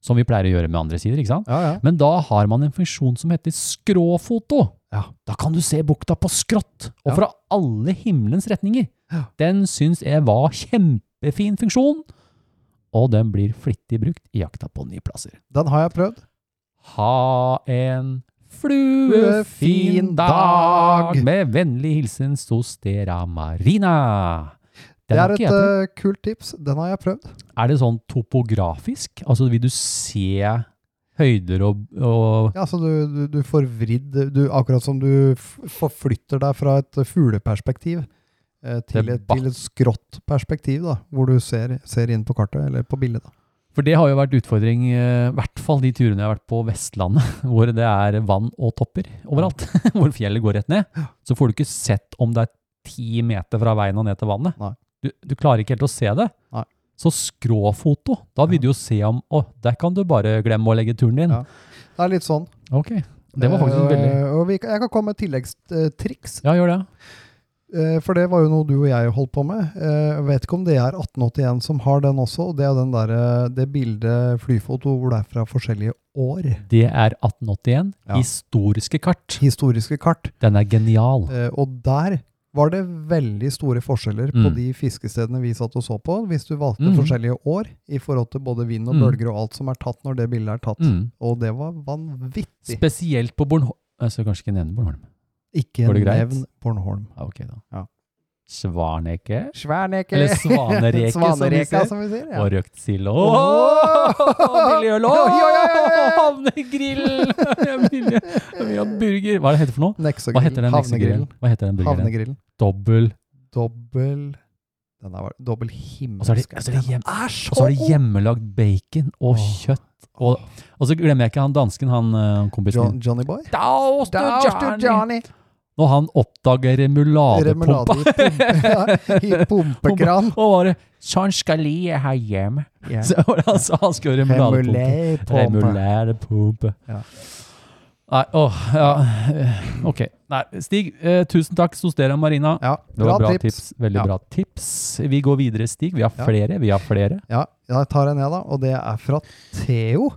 Speaker 2: som vi pleier å gjøre med andre sider, ikke sant?
Speaker 6: Ja, ja.
Speaker 2: Men da har man en funksjon som heter skråfoto.
Speaker 6: Ja.
Speaker 2: Da kan du se bukta på skrått, og
Speaker 6: Ja.
Speaker 2: fra alle himmelens retninger.
Speaker 6: Ja.
Speaker 2: Den syns jeg var kjempefin funksjon, og den blir flittig brukt i jakta på nye plasser.
Speaker 6: Den har jeg prøvd.
Speaker 2: Ha en fluefin dag! Med vennlig hilsen Sostera Marina. Den
Speaker 6: Det
Speaker 2: har
Speaker 6: er
Speaker 2: ikke
Speaker 6: et
Speaker 2: jeg prøvd.
Speaker 6: eh, kult tips. Den har jeg prøvd.
Speaker 2: er det sånn topografisk? Altså, vil du se høyder og, og
Speaker 6: Ja, så du, du, du får vridd du, Akkurat som du f forflytter deg fra et fugleperspektiv eh, til, et,
Speaker 2: Tilbake.
Speaker 6: til et skrått perspektiv, da, hvor du ser, ser inn på kartet eller på bildet. Da.
Speaker 2: For det har jo vært utfordring, eh, i hvert fall de turene jeg har vært på Vestlandet, (laughs) hvor det er vann og topper overalt, (laughs) hvor fjellet går rett ned. Så får du ikke sett om det er ti meter fra veien og ned til vannet.
Speaker 6: Nei.
Speaker 2: Du, du klarer ikke helt å se det.
Speaker 6: Nei.
Speaker 2: Så skråfoto, da vil du jo se om, å, der kan du bare glemme å legge turen din.
Speaker 6: Ja. Det er litt sånn.
Speaker 2: Ok, det var faktisk
Speaker 6: Eh, og,
Speaker 2: veldig...
Speaker 6: og vi, kan- Jeg kan komme med et tilleggstriks.
Speaker 2: Ja, gjør det.
Speaker 6: Eh, For det var jo noe du og jeg holdt på med. Eh, Jeg vet ikke om det er 1881 som har den også. og Det er den der, eh, det bildet flyfoto hvor det er fra forskjellige år.
Speaker 2: Det er 1881,
Speaker 6: Ja.
Speaker 2: historiske kart.
Speaker 6: Historiske kart.
Speaker 2: Den er genial.
Speaker 6: Eh, Og der var det veldig store forskjeller på
Speaker 2: Mm.
Speaker 6: de fiskestedene vi satt og så på, hvis du valgte
Speaker 2: Mm.
Speaker 6: forskjellige år i forhold til både vind og
Speaker 2: Mm.
Speaker 6: bølger og alt som er tatt når det bildet er tatt.
Speaker 2: Mm.
Speaker 6: Og det var vanvittig.
Speaker 2: Spesielt på Bornholm. Jeg skal kanskje ikke nevne Bornholm.
Speaker 6: Ikke
Speaker 2: Var det greit?
Speaker 6: nevn Bornholm.
Speaker 2: Ja, ok da.
Speaker 6: Ja.
Speaker 2: Svarneke.
Speaker 6: Sverneke.
Speaker 2: Eller svanereke, som vi
Speaker 6: Svanereka,
Speaker 2: sier.
Speaker 6: som vi sier. ja.
Speaker 2: og røkt sild.
Speaker 6: Åh!
Speaker 2: (laughs) Billig øl!
Speaker 6: Oi, oi, oi, oi!
Speaker 2: Åh,
Speaker 6: (laughs)
Speaker 2: Havnegrill! Billig billig øl. burger. Hva er det heter for noe? Hva
Speaker 6: Nexogrill.
Speaker 2: heter den
Speaker 6: Havnegrillen.
Speaker 2: heksegrillen? Hva heter den burgeren?
Speaker 6: Havnegrillen.
Speaker 2: Dobbel.
Speaker 6: Dobbel Den er dobbel
Speaker 2: Og så
Speaker 6: himmelsk.
Speaker 2: er det, og så er det, hjem,
Speaker 6: Den er
Speaker 2: og
Speaker 6: så
Speaker 2: så er det hjemmelagd bacon og
Speaker 6: Åh.
Speaker 2: kjøtt. Og, og så glemmer jeg ikke han dansken, han eh, kompisen
Speaker 6: John,
Speaker 2: min.
Speaker 6: Johnny Boy.
Speaker 2: Daus du Johnny!
Speaker 6: Johnny!
Speaker 2: Når han oppdager remouladepumpa.
Speaker 6: Remulade i, pumpe, (laughs) ja, i pumpekran.
Speaker 2: Og bare Sånn skal jeg ha hjemme.
Speaker 6: Ja.
Speaker 2: Så altså, han skal ha remouladepumpe. Remulærepumpe.
Speaker 6: Remulade-pumpe. Ja.
Speaker 2: Nei, åh, ja. eh, Ok. Nei, Stig, eh, tusen takk, Sostera Marina.
Speaker 6: Ja,
Speaker 2: Det var
Speaker 6: bra, tips.
Speaker 2: Veldig
Speaker 6: Ja.
Speaker 2: bra tips. Vi går videre, Stig. Vi har
Speaker 6: Ja.
Speaker 2: flere. Vi har flere.
Speaker 6: Ja, jeg tar en jeg, da. Og det er fra Theo.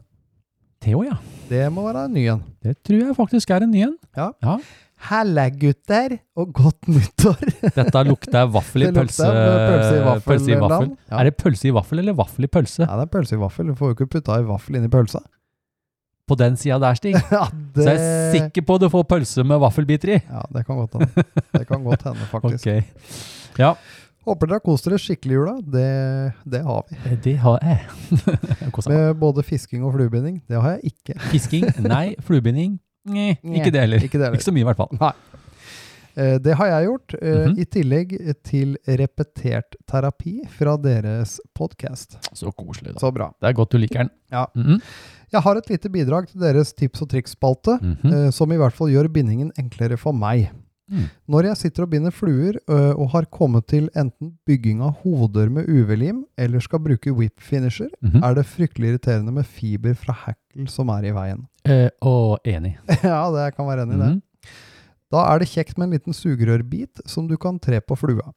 Speaker 2: Theo, ja.
Speaker 6: Det må være en ny en.
Speaker 2: Det tror jeg faktisk er en ny en.
Speaker 6: Halla, gutter, og godt nyttår!
Speaker 2: Dette
Speaker 6: (laughs)
Speaker 2: lukter vaffel i
Speaker 6: Det lukter
Speaker 2: pølse.
Speaker 6: pølse i vaffel,
Speaker 2: pølse i vaffel.
Speaker 6: Land. Ja.
Speaker 2: Er det pølse i vaffel eller vaffel i pølse?
Speaker 6: Ja, det er pølse i vaffel. Du får jo ikke putta i vaffel inni pølsa. (laughs)
Speaker 2: På den sida der, Stig.
Speaker 6: Ja,
Speaker 2: Så jeg er sikker på du får pølse med vaffelbiter i.
Speaker 6: Ja, det kan godt hende. Det kan godt
Speaker 2: (laughs)
Speaker 6: hende, faktisk.
Speaker 2: Ok. Ja,
Speaker 6: Håper dere har kost dere skikkelig i jula. Det, det har vi.
Speaker 2: eh, det har jeg. (laughs) jeg. koser meg.
Speaker 6: Med både fisking og fluebinding. Det har jeg ikke.
Speaker 2: (laughs) Fisking? Nei. Fluebinding? Nei, ikke det heller.
Speaker 6: Ikke det heller.
Speaker 2: Ikke så mye, i hvert fall.
Speaker 6: Eh, Det har jeg gjort, eh,
Speaker 2: Mhm.
Speaker 6: i tillegg til repetert terapi fra deres podkast.
Speaker 2: Så koselig, da.
Speaker 6: Så bra.
Speaker 2: Det er godt du liker den.
Speaker 6: Ja.
Speaker 2: Mhm.
Speaker 6: Jeg har et lite bidrag til deres tips og triks-spalte,
Speaker 2: Mhm.
Speaker 6: eh, som i hvert fall gjør bindingen enklere for meg.
Speaker 2: Mhm.
Speaker 6: Når jeg sitter og binder fluer ø, og har kommet til enten bygging av hoder med UV-lim eller skal bruke whip finisher,
Speaker 2: Mhm.
Speaker 6: er det fryktelig irriterende med fiber fra hackle som er i veien. (laughs)
Speaker 2: Eh, og enig.
Speaker 6: ja, det jeg kan være enig i det.
Speaker 2: Mhm.
Speaker 6: Da er det kjekt med en liten sugerørbit som du kan tre på flua.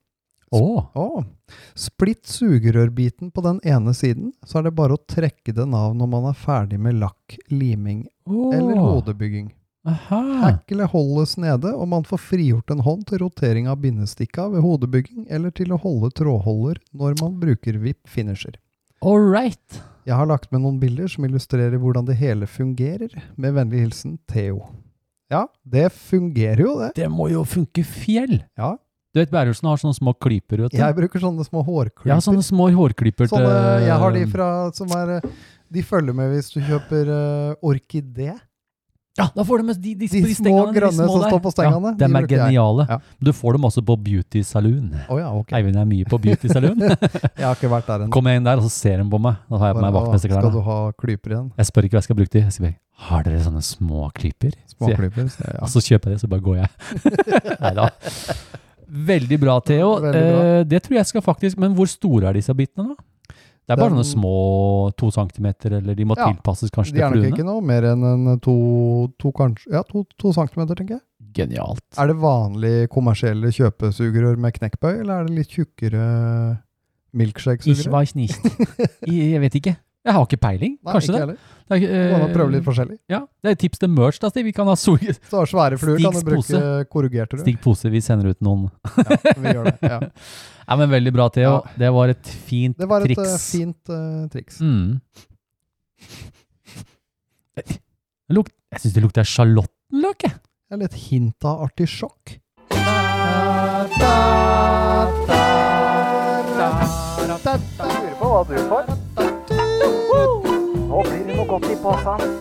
Speaker 2: Å,
Speaker 6: Å, Splitt sugerørbiten på den ene siden, så er det bare å trekke den av når man er ferdig med lakk, liming
Speaker 2: å.
Speaker 6: eller hodebygging.
Speaker 2: Aha.
Speaker 6: Hacklet holdes nede, og man får frigjort en hånd til rotering av bindestikka ved hodebygging eller til å holde trådholder når man bruker VIP finisher.
Speaker 2: All right.
Speaker 6: Jeg har lagt med noen bilder som illustrerer hvordan det hele fungerer. Med vennlig hilsen Theo. Ja, det fungerer jo, det.
Speaker 2: Det må jo funke fjell.
Speaker 6: Ja,
Speaker 2: Du vet Bærumsen har sånne små klyper, vet du.
Speaker 6: Jeg bruker sånne små hårklyper.
Speaker 2: ja, sånne små hårklyper til
Speaker 6: Sånne, jeg har de fra, som er eh, De følger med hvis du kjøper eh, orkidé.
Speaker 2: Ja, da får du med de, de,
Speaker 6: De små
Speaker 2: stengene,
Speaker 6: grønne som
Speaker 2: der.
Speaker 6: står på stengene,
Speaker 2: Ja,
Speaker 6: de
Speaker 2: de er
Speaker 6: bruker jeg.
Speaker 2: geniale.
Speaker 6: Ja.
Speaker 2: Du får dem også på Beauty Saloon.
Speaker 6: Å ja, ok.
Speaker 2: Eivind er mye på Beauty
Speaker 6: (laughs)
Speaker 2: Saloon.
Speaker 6: Jeg har ikke vært der ennå.
Speaker 2: Kommer jeg inn der, og så ser de på meg. Da har jeg på meg
Speaker 6: Bare, «Å, Skal du
Speaker 2: vaktmesterklærne.
Speaker 6: ha klyper igjen?
Speaker 2: Jeg spør ikke hva jeg skal bruke de. Jeg sier bare, har dere sånne små klyper? Sier jeg. Altså,
Speaker 6: Småklyper? sier jeg,
Speaker 2: Og så kjøper jeg det, så bare går jeg. (laughs) Neida. Veldig bra, Theo.
Speaker 6: Veldig bra.
Speaker 2: Eh, det tror jeg skal faktisk Men hvor store er disse bitene, da? Det er bare
Speaker 6: Den-
Speaker 2: noen små to centimeter, eller de må
Speaker 6: Ja,
Speaker 2: tilpasses
Speaker 6: Ja.
Speaker 2: kanskje
Speaker 6: De er
Speaker 2: til
Speaker 6: nok
Speaker 2: fluene?
Speaker 6: ikke noe mer enn en to, to, kanskje, ja, to, to centimeter, tenker jeg.
Speaker 2: Genialt.
Speaker 6: Er det vanlige kommersielle kjøpesugerør med knekkbøy, eller er det litt tjukkere
Speaker 2: Ich
Speaker 6: milkshake-sugerør?
Speaker 2: weiß nicht. I- Jeg vet ikke. Jeg har ikke peiling.
Speaker 6: Nei,
Speaker 2: Kanskje
Speaker 6: ikke
Speaker 2: det.
Speaker 6: heller.
Speaker 2: Det er, eh,
Speaker 6: Gå an å prøve litt forskjellig.
Speaker 2: Ja, det er et tips til merch, da, Stig. Vi kan ha sol...
Speaker 6: Så du har svære fluer, kan du
Speaker 2: Stigs
Speaker 6: bruke
Speaker 2: pose.
Speaker 6: korrugerte rør.
Speaker 2: Stig Pose, vi sender ut noen.
Speaker 6: Ja, vi gjør det. Ja.
Speaker 2: Nei, men Veldig bra, Theo.
Speaker 6: Ja.
Speaker 2: Det var et fint
Speaker 6: Det var et
Speaker 2: triks.
Speaker 6: eh, fint eh, triks.
Speaker 2: Mm. Det Luk, jeg syns det lukter sjalottenløk, jeg.
Speaker 6: Det er litt hint av artisjokk.
Speaker 5: Jeg lurer på hva du får. Nå blir det noe godt i posen.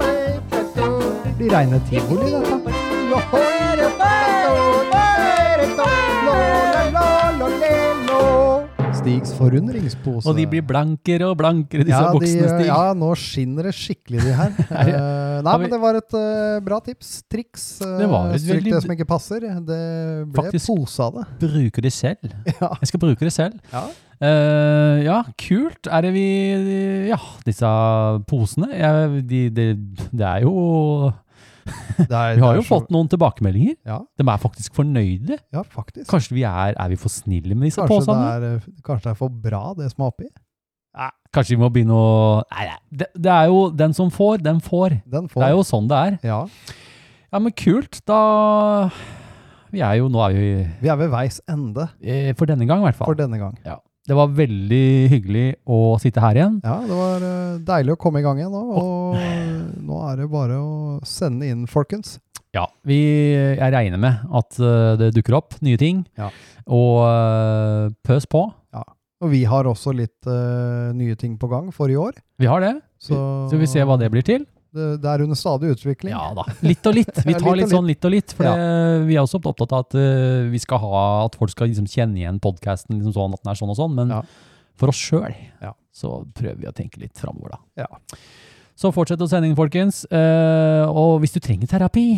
Speaker 6: Det blir reine tivoli, dette. Stigs forundringspose.
Speaker 2: Og de blir blankere og blankere, disse
Speaker 6: ja,
Speaker 2: buksene,
Speaker 6: de,
Speaker 2: Stig.
Speaker 6: ja, nå skinner det skikkelig,
Speaker 2: (laughs)
Speaker 6: de her.
Speaker 2: det-
Speaker 6: Eh, nei,
Speaker 2: har vi-
Speaker 6: men det var et eh, bra tips. Triks. eh,
Speaker 2: Det var et
Speaker 6: Stryk
Speaker 2: veldig-
Speaker 6: det som ikke passer. Det ble
Speaker 2: Faktisk- (laughs)
Speaker 6: pose av det.
Speaker 2: Bruker de selv.
Speaker 6: Ja.
Speaker 2: Jeg skal bruke det selv.
Speaker 6: Ja.
Speaker 2: Eh, ja, kult. Er det vi Ja, disse posene. Jeg- de, de, det er jo
Speaker 6: (laughs) Det er-
Speaker 2: Vi har
Speaker 6: det er
Speaker 2: jo
Speaker 6: så-
Speaker 2: fått noen tilbakemeldinger.
Speaker 6: Ja.
Speaker 2: De er faktisk fornøyde.
Speaker 6: Ja, faktisk.
Speaker 2: Kanskje vi er, er vi for snille med disse
Speaker 6: Kanskje
Speaker 2: påstandene?
Speaker 6: det, er, eh, kanskje det er for bra, det som er oppi.
Speaker 2: Kanskje vi må begynne å Nei, nei. Det, det er jo den som får, den får.
Speaker 6: Den får
Speaker 2: Det er jo sånn det er.
Speaker 6: Ja.
Speaker 2: Ja, men kult. Da Vi er jo Nå er vi
Speaker 6: Vi er ved veis ende
Speaker 2: eh, For denne gang, i hvert
Speaker 6: for
Speaker 2: fall.
Speaker 6: denne gang.
Speaker 2: Det var veldig hyggelig å sitte her igjen.
Speaker 6: Ja, det var eh, deilig å komme i gang igjen nå. Og nå er det bare å sende inn, folkens.
Speaker 2: Ja, vi, jeg regner med at eh, det dukker opp nye ting.
Speaker 6: Ja.
Speaker 2: Og eh, pøs på.
Speaker 6: Og vi har også litt eh, nye ting på gang for i år.
Speaker 2: Vi har det.
Speaker 6: Så,
Speaker 2: Så vi ser hva det blir til.
Speaker 6: Det, det er under stadig utvikling.
Speaker 2: Ja da. (laughs) Litt og litt. Vi
Speaker 6: Ja,
Speaker 2: tar
Speaker 6: litt og
Speaker 2: litt sånn litt og litt. For det, vi er også opptatt av at eh, vi skal ha At folk skal liksom kjenne igjen podkasten liksom sånn at den er sånn og sånn. Men
Speaker 6: Ja.
Speaker 2: for oss sjøl
Speaker 6: Ja.
Speaker 2: så prøver vi å tenke litt framover, da.
Speaker 6: Ja.
Speaker 2: Så fortsett å sende inn, folkens. Eh, og hvis du trenger terapi,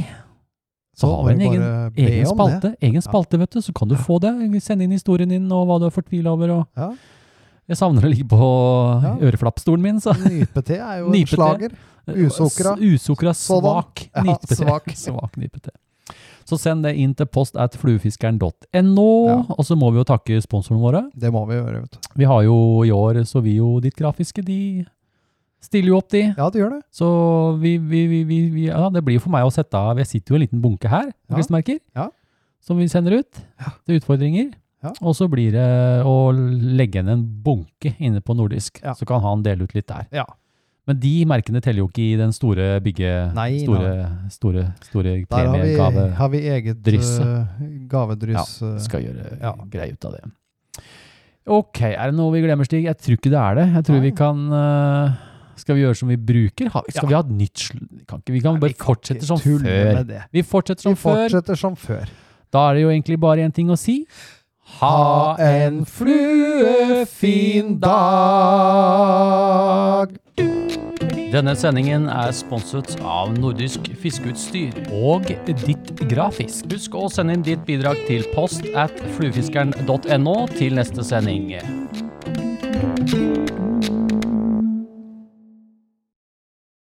Speaker 2: så har vi en egen, egen spalte. Egen spalte, vet du, så kan du få det. Send inn historien din og hva du er fortvila over. Og (laughs)
Speaker 6: Ja.
Speaker 2: Jeg savner å ligge på
Speaker 6: Ja.
Speaker 2: øreflappstolen min, så.
Speaker 6: Nypete er jo en
Speaker 2: Nypete. Eh,
Speaker 6: slager. Usukra.
Speaker 2: S- Usukra
Speaker 6: Sådan.
Speaker 2: svak
Speaker 6: (laughs) Ja,
Speaker 2: nypete. (laughs)
Speaker 6: svak.
Speaker 2: svak nypete. Så send det inn til post at fluefiskeren.no,
Speaker 6: Ja.
Speaker 2: og så må vi jo takke sponsorene våre.
Speaker 6: Det må vi gjøre, vet du.
Speaker 2: Vi har jo i år så vi jo ditt grafiske, de stiller jo opp, de.
Speaker 6: Ja, det gjør det.
Speaker 2: Så vi, vi, vi, vi, vi Ja, det blir jo for meg å sette av Jeg sitter jo i en liten bunke her,
Speaker 6: Ja.
Speaker 2: klistremerker,
Speaker 6: Ja.
Speaker 2: som vi sender ut
Speaker 6: Ja.
Speaker 2: til utfordringer.
Speaker 6: Ja.
Speaker 2: Og så blir det å legge igjen en bunke inne på nordisk,
Speaker 6: Ja.
Speaker 2: så kan han dele ut litt der.
Speaker 6: Ja.
Speaker 2: Men de merkene teller jo ikke i den store bygge...
Speaker 6: Nei,
Speaker 2: store, store, store
Speaker 6: Der har vi,
Speaker 2: premiegave.
Speaker 6: har vi eget
Speaker 2: Drysse.
Speaker 6: eh, gavedryss. eh,
Speaker 2: Skal gjøre
Speaker 6: Ja.
Speaker 2: greie ut av det. Ok, er det noe vi glemmer, Stig? Jeg tror ikke det er det. Jeg tror
Speaker 6: Nei.
Speaker 2: vi kan øh, Skal vi gjøre som vi bruker? Ha, skal
Speaker 6: Ja.
Speaker 2: vi ha et nytt sl... Kan ikke, vi kan bare fortsette som
Speaker 6: Tulle
Speaker 2: før.
Speaker 6: eh, med det.
Speaker 2: Vi fortsetter
Speaker 6: Vi
Speaker 2: som før.
Speaker 6: fortsetter som før.
Speaker 2: Da er det jo egentlig bare én ting å si.
Speaker 6: Ha en
Speaker 2: fluefin dag! Denne sendingen er sponset av Nordisk Fiskeutstyr og Ditt Grafisk. Husk å sende inn ditt bidrag til post at fluefiskeren.no til neste sending.